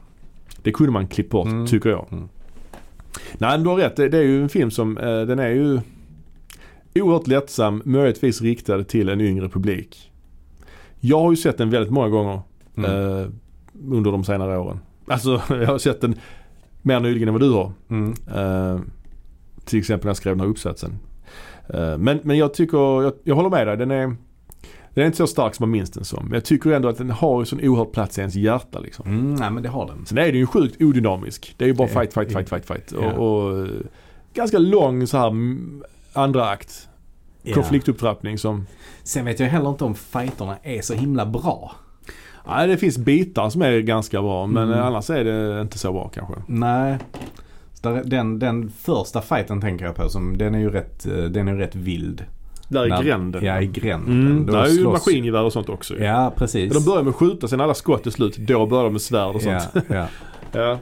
S1: Det kunde man klippt bort
S2: Mm.
S1: tycker jag.
S2: Mm.
S1: Nej men du har rätt. Det, det är ju en film som, eh, den är ju oerhört lättsam, möjligtvis riktad till en yngre publik. Jag har ju sett den väldigt många gånger
S2: Mm.
S1: eh, under de senare åren. Alltså jag har sett den mer nyligen än vad du har.
S2: Mm.
S1: Eh, till exempel när jag skrev den här uppsatsen. Eh, men, men jag tycker, jag, jag håller med dig. Den är, den är inte så stark som man minns den som. Men jag tycker ändå att den har en sån oerhörd plats i ens hjärta liksom.
S2: Mm, nej men det har den.
S1: Sen är den ju sjukt odynamisk. Det är ju bara
S2: Det är-
S1: fight, fight, fight, fight, fight.
S2: Ja.
S1: Och, och eh, ganska lång så här mm, andra akt. Konfliktupptrappning som...
S2: Sen vet jag heller inte om fighterna är så himla bra.
S1: Nej, det finns bitar som är ganska bra men
S2: Mm.
S1: eh, annars är det inte så bra kanske.
S2: Nej. Så där- Den, den första fighten tänker jag på som, den är ju rätt, eh, den är ju rätt vild.
S1: Där
S2: När-
S1: i gränden.
S2: Ja, i gränden.
S1: Mm,
S2: Då
S1: där är ju
S2: slåss-
S1: maskingevär och sånt också ju.
S2: Ja, precis.
S1: De börjar med att skjuta, sen alla skott är slut. Då börjar de med svärd och sånt.
S2: Ja, ja.
S1: Ja,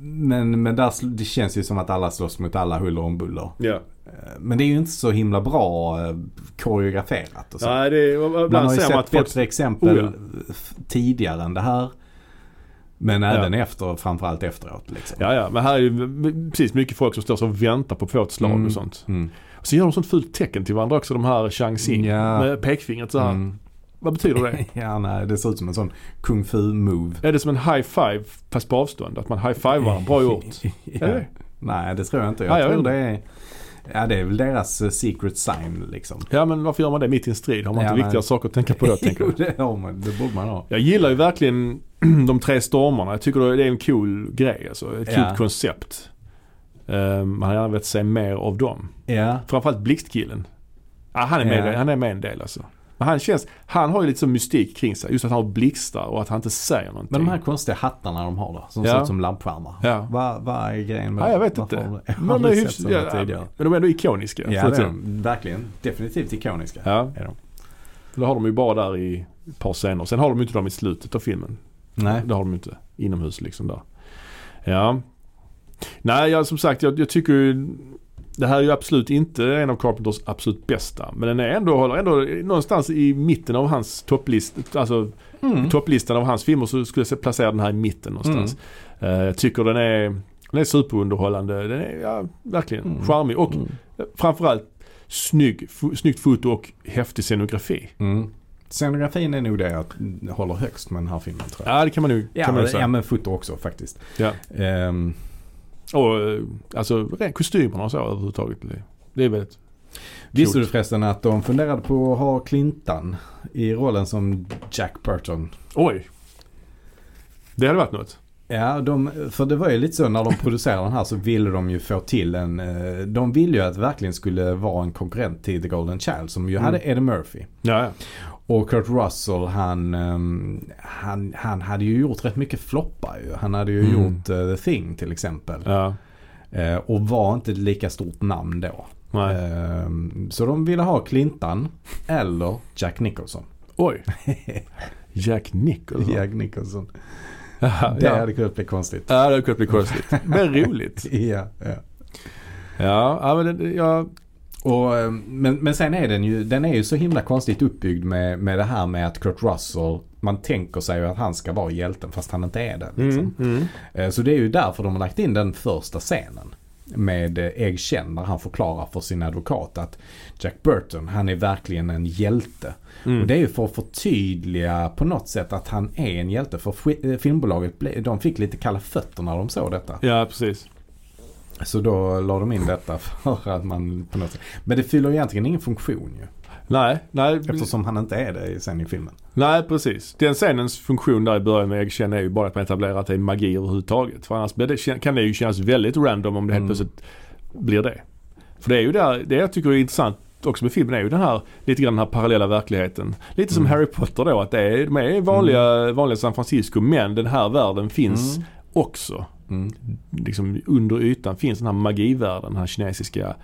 S2: Men, men där, sl- det känns ju som att alla slåss mot alla huller om buller.
S1: ja.
S2: Eh, Men det är ju inte så himla bra eh, koreograferat och så.
S1: Nej, det är,
S2: man
S1: ibland
S2: har ju
S1: ser man
S2: sett
S1: att folk...
S2: bättre exempel
S1: Oh, ja.
S2: f- tidigare än det här. Men även efter, framförallt efteråt liksom.
S1: Ja, ja, men här är ju precis mycket folk som står så och väntar på att få ett slag
S2: Mm.
S1: och sånt.
S2: Mm.
S1: Och så gör de sånt fult tecken till varandra också, de här Chang Xing.
S2: Ja.
S1: Med pekfingret så här.
S2: Mm.
S1: Vad betyder det?
S2: Ja, nej, det ser ut som en sån kung fu move.
S1: är det som en high five fast på avstånd? Att man high fivar Bra gjort. Är
S2: ja.
S1: det?
S2: Nej, det tror jag inte.
S1: Nej,
S2: Jag
S1: jag
S2: tror
S1: vet
S2: det är... Ja, det är väl deras eh, secret sign liksom.
S1: Ja men varför gör man det mitt i en strid? Har man
S2: Ja,
S1: inte
S2: nej.
S1: viktiga saker att tänka på då tänker
S2: jo,
S1: jag.
S2: det har man. Det borde man ha.
S1: Jag gillar ju verkligen de tre stormarna. Jag tycker det är en cool grej alltså. Ett kul
S2: Ja.
S1: koncept. Eh, Man hade gärna velat se mer av dem.
S2: Ja.
S1: Framförallt blixtkillen. Ja, han, är med,
S2: Ja.
S1: han är med en del alltså. Men han känns, han har ju lite så mystik kring sig. Just att han har blixtar och att han inte säger någonting.
S2: Men de här konstiga hattarna de har då, som
S1: Ja.
S2: ser ut som lampskärmar.
S1: Ja.
S2: Vad vad är grejen med
S1: ja, jag vet
S2: varför
S1: inte.
S2: har de- Jag har
S1: Men de är,
S2: aldrig sett
S1: hyfs-
S2: sådana tidigare.
S1: ja, men de är ändå ikoniska.
S2: Ja,
S1: Så att
S2: det är
S1: säga.
S2: de. Verkligen. Definitivt ikoniska.
S1: ja.
S2: Är de.
S1: För det har de ju bara där i ett par scener. Sen har de ju inte dem i slutet av filmen.
S2: Nej.
S1: Det har de ju inte inomhus liksom där. Ja. Nej, jag, som sagt jag, jag tycker ju... Det här är ju absolut inte en av Carpenters absolut bästa. Men den är ändå, håller ändå någonstans i mitten av hans topplist, alltså
S2: Mm.
S1: topplistan av hans filmer så skulle jag placera den här i mitten någonstans.
S2: Mm.
S1: Eh, jag tycker den är, den är superunderhållande. Den är ja, verkligen
S2: Mm.
S1: charmig och
S2: Mm.
S1: framförallt snygg, f- snyggt foto och häftig scenografi.
S2: Mm. Scenografin är nog det jag håller högst med den här filmen tror jag.
S1: Ja det kan man nog,
S2: Ja,
S1: kan man nog
S2: ja
S1: säga.
S2: men foto också faktiskt.
S1: Ja.
S2: Ehm,
S1: Och eh, alltså rent kostymerna och så överhuvudtaget. Det- Det är väldigt...
S2: visste du
S1: Klokt.
S2: förresten att de funderade på att ha Clintan i rollen som Jack Burton?
S1: Oj! Det hade varit något.
S2: Ja, de, för det var ju lite så när de producerade den här så ville de ju få till en... eh, De ville ju att det verkligen skulle vara en konkurrent till The Golden Child som ju
S1: Mm.
S2: hade Eddie Murphy.
S1: Ja, ja.
S2: Och Kurt Russell han, ehm, han, han hade ju gjort rätt mycket floppar ju. Han hade ju
S1: Mm.
S2: gjort eh, The Thing till exempel.
S1: ja.
S2: Eh, Och var inte ett lika stort namn då.
S1: Nej.
S2: Ehm, Så de ville ha Clintan eller Jack Nicholson.
S1: Oj! Jack Nicholson.
S2: Jack Nicholson.
S1: ja.
S2: Det
S1: ja.
S2: hade kunnat bli konstigt.
S1: Ja, det hade kunnat bli konstigt. Men roligt.
S2: Ja, ja.
S1: Ja, ja men det, ja,
S2: Och, eh, men, men sen är den ju, den är ju så himla konstigt uppbyggd med, med det här med att Kurt Russell, man tänker sig ju att han ska vara hjälten fast han inte är det. Liksom.
S1: mm, mm.
S2: Eh, Så det är ju därför de har lagt in den första scenen. Med eh, Egg Chen när han förklarar för sin advokat att Jack Burton han är verkligen en hjälte.
S1: Mm.
S2: Och det är ju för att förtydliga på något sätt att han är en hjälte. För sk- eh, filmbolaget ble- de fick lite kalla fötter när de såg detta.
S1: ja, precis.
S2: Så då la de in detta för att man på något sätt. Men det fyller ju egentligen ingen funktion ju.
S1: Nej, nej,
S2: Eftersom han inte är det sen i filmen.
S1: nej precis. Den scenens funktion där i början med Eggchen är ju bara att man etablerar att det är magi överhuvudtaget. För annars blir det, kan det ju kännas väldigt random om det helt
S2: Mm.
S1: plötsligt blir det. För det är ju där, det jag tycker är intressant också med filmen är ju den här, lite grann den här parallella verkligheten. Lite som
S2: Mm.
S1: Harry Potter då, att det är, de är vanliga, vanliga San Francisco men den här världen finns
S2: Mm.
S1: också.
S2: Mm.
S1: Liksom under ytan finns den här magivärlden, den här kinesiska
S2: Ja,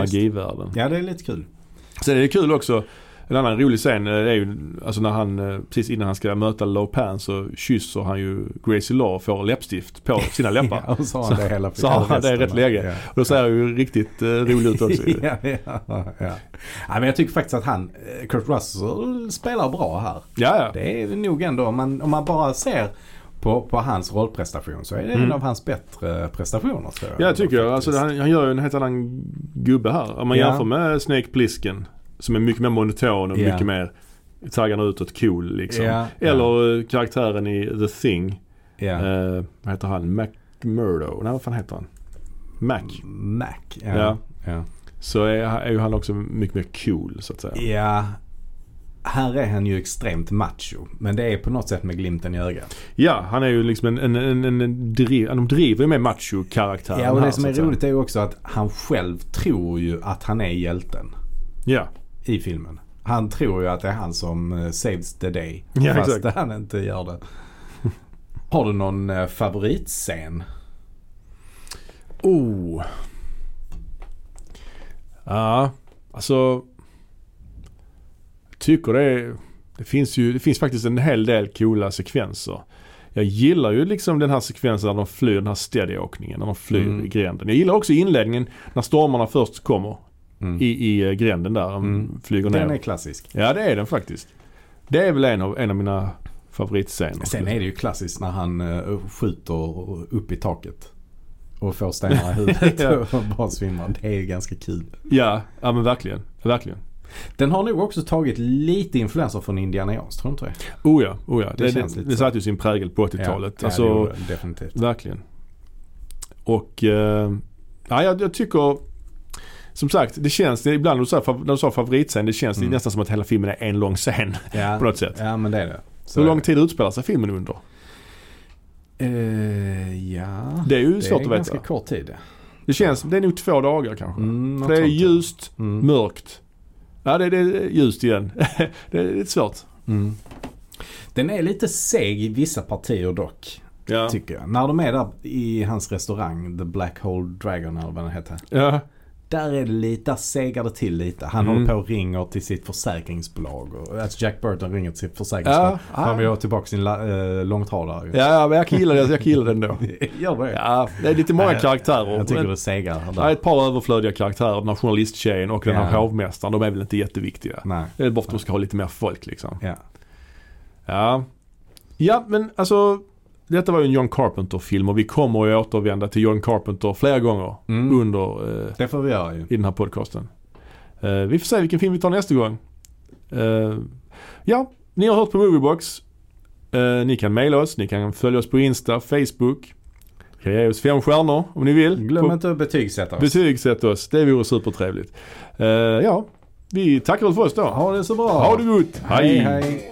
S2: visst.
S1: magivärlden.
S2: ja det är lite kul.
S1: Sen är det kul också, en annan rolig scen eh, är ju alltså när han, eh, precis innan han ska möta Lopan så kysser han ju Gracie Law och får läppstift på sina läppar.
S2: Ja, och så har han det hela
S1: så har han det
S2: resten,
S1: rätt
S2: va?
S1: läge.
S2: Ja.
S1: Och då ser jag ju riktigt eh, rolig ut också. ju.
S2: ja, ja, ja. ja, men jag tycker faktiskt att han, eh, Kurt Russell, spelar bra här.
S1: Ja, ja.
S2: Det är nog ändå, om man, om man bara ser på, på hans rollprestation så är det en
S1: Mm.
S2: av hans bättre prestationer tror jag.
S1: Ja, jag tycker jag.
S2: Faktiskt.
S1: Alltså, han, han gör ju en helt annan gubbe här. Om man
S2: Ja.
S1: jämför med Snake Plissken som är mycket mer monoton och
S2: Ja.
S1: mycket mer taggarna utåt cool liksom.
S2: Ja, ja.
S1: Eller eh, karaktären i The Thing.
S2: Ja.
S1: Eh, vad heter han? McMurdo? Nej vad fan heter han? Mac.
S2: Mac. Ja.
S1: Ja.
S2: Ja. Ja.
S1: Så är, är ju han också mycket mer cool så att säga.
S2: Här är han ju extremt macho. Men det är på något sätt med glimten i ögat.
S1: Ja, han är ju liksom en, en, en, en, en driv, de driver ju med macho-karaktären
S2: Ja, och
S1: här,
S2: det som
S1: så
S2: är
S1: att säga.
S2: roligt är ju också att han själv tror ju att han är hjälten
S1: Ja,
S2: i filmen. Han tror ju att det är han som eh, saves the day.
S1: Ja,
S2: fast
S1: exakt.
S2: han inte gör det. Har du någon eh, favoritscen?
S1: Oh. Ja, alltså. Jag tycker det är, det finns ju, det finns faktiskt en hel del coola sekvenser. Jag gillar ju liksom den här sekvensen när de flyr, den här steadyåkningen, när de flyr
S2: Mm.
S1: i gränden. Jag gillar också inledningen när stormarna först kommer
S2: Mm.
S1: i, i eh, gränden där, de
S2: Mm.
S1: flyger ner.
S2: Den är klassisk.
S1: Ja det är den faktiskt. Det är väl en av, en av mina favoritscener.
S2: Sen är det ju klassiskt när han eh, skjuter upp i taket. Och får stenar i huvudet
S1: Ja.
S2: och bara svimmar. Det är ju ganska kul.
S1: Ja, ja men verkligen. Verkligen.
S2: Den har nog också tagit lite influenser från Indiana Jones, tror du inte det?
S1: Oh ja, oh ja. Det,
S2: Det
S1: det,
S2: känns
S1: det,
S2: lite
S1: satte ju sin prägel på 80-talet.
S2: Ja,
S1: alltså,
S2: ja, det gjorde den definitivt.
S1: Verkligen. Och eh, ja, jag, jag tycker som sagt, det känns, det, är ibland när du sa, fav- när du sa favoritscen, det känns
S2: Mm.
S1: nästan som att hela filmen är en lång scen
S2: Ja,
S1: på något sätt.
S2: ja men det är det. Så
S1: Hur
S2: är
S1: lång
S2: det.
S1: tid utspelar sig filmen under?
S2: Eh, ja,
S1: Det är ju svårt
S2: är
S1: att
S2: ganska
S1: veta.
S2: kort tid.
S1: Det känns, det är nog två dagar kanske.
S2: Mm, något
S1: För det är
S2: sånt, ja.
S1: ljust,
S2: Mm.
S1: mörkt. Ja, det, det är ljust igen. det är lite svårt.
S2: Mm. Den är lite seg i vissa partier dock,
S1: Ja.
S2: tycker jag. När de är där i hans restaurang, The Black Hole Dragon eller vad den heter.
S1: ja.
S2: Där är det lite, där segar det till lite. Han
S1: Mm.
S2: håller på och ringer till sitt försäkringsbolag. Och, alltså Jack Burton ringer till sitt försäkringsbolag.
S1: Ja.
S2: Han vill ha tillbaka sin la, eh, långtradare.
S1: Ja, men jag kan gilla det. Jag kan gilla den då.
S2: Gör det.
S1: Ja, det är lite många
S2: Ja,
S1: karaktärer.
S2: Jag tycker
S1: Men-
S2: det segar här.
S1: Ja,
S2: där.
S1: ett par överflödiga karaktärer. Den här journalisttjejen och den här
S2: Ja.
S1: hovmästaren. De är väl inte jätteviktiga.
S2: Nej.
S1: Det är bara att de ska ha lite mer folk liksom.
S2: Ja.
S1: Ja. Ja, men alltså. Detta var ju en John Carpenter-film och vi kommer ju återvända till John Carpenter flera gånger
S2: Mm.
S1: under eh,
S2: Det får vi göra ju.
S1: i den här podcasten. Eh, vi får se vilken film vi tar nästa gång. Eh, ja, ni har hört på Moviebox. Eh, ni kan mejla oss, ni kan följa oss på Insta, Facebook. Ge oss fem stjärnor om ni vill.
S2: Glöm
S1: På-
S2: inte att betygsätta oss.
S1: Betygsätt oss, det vore supertrevligt. Eh, ja, vi tackar väl för oss då.
S2: Ha det så bra.
S1: Ha det gott!
S2: Hej, hej.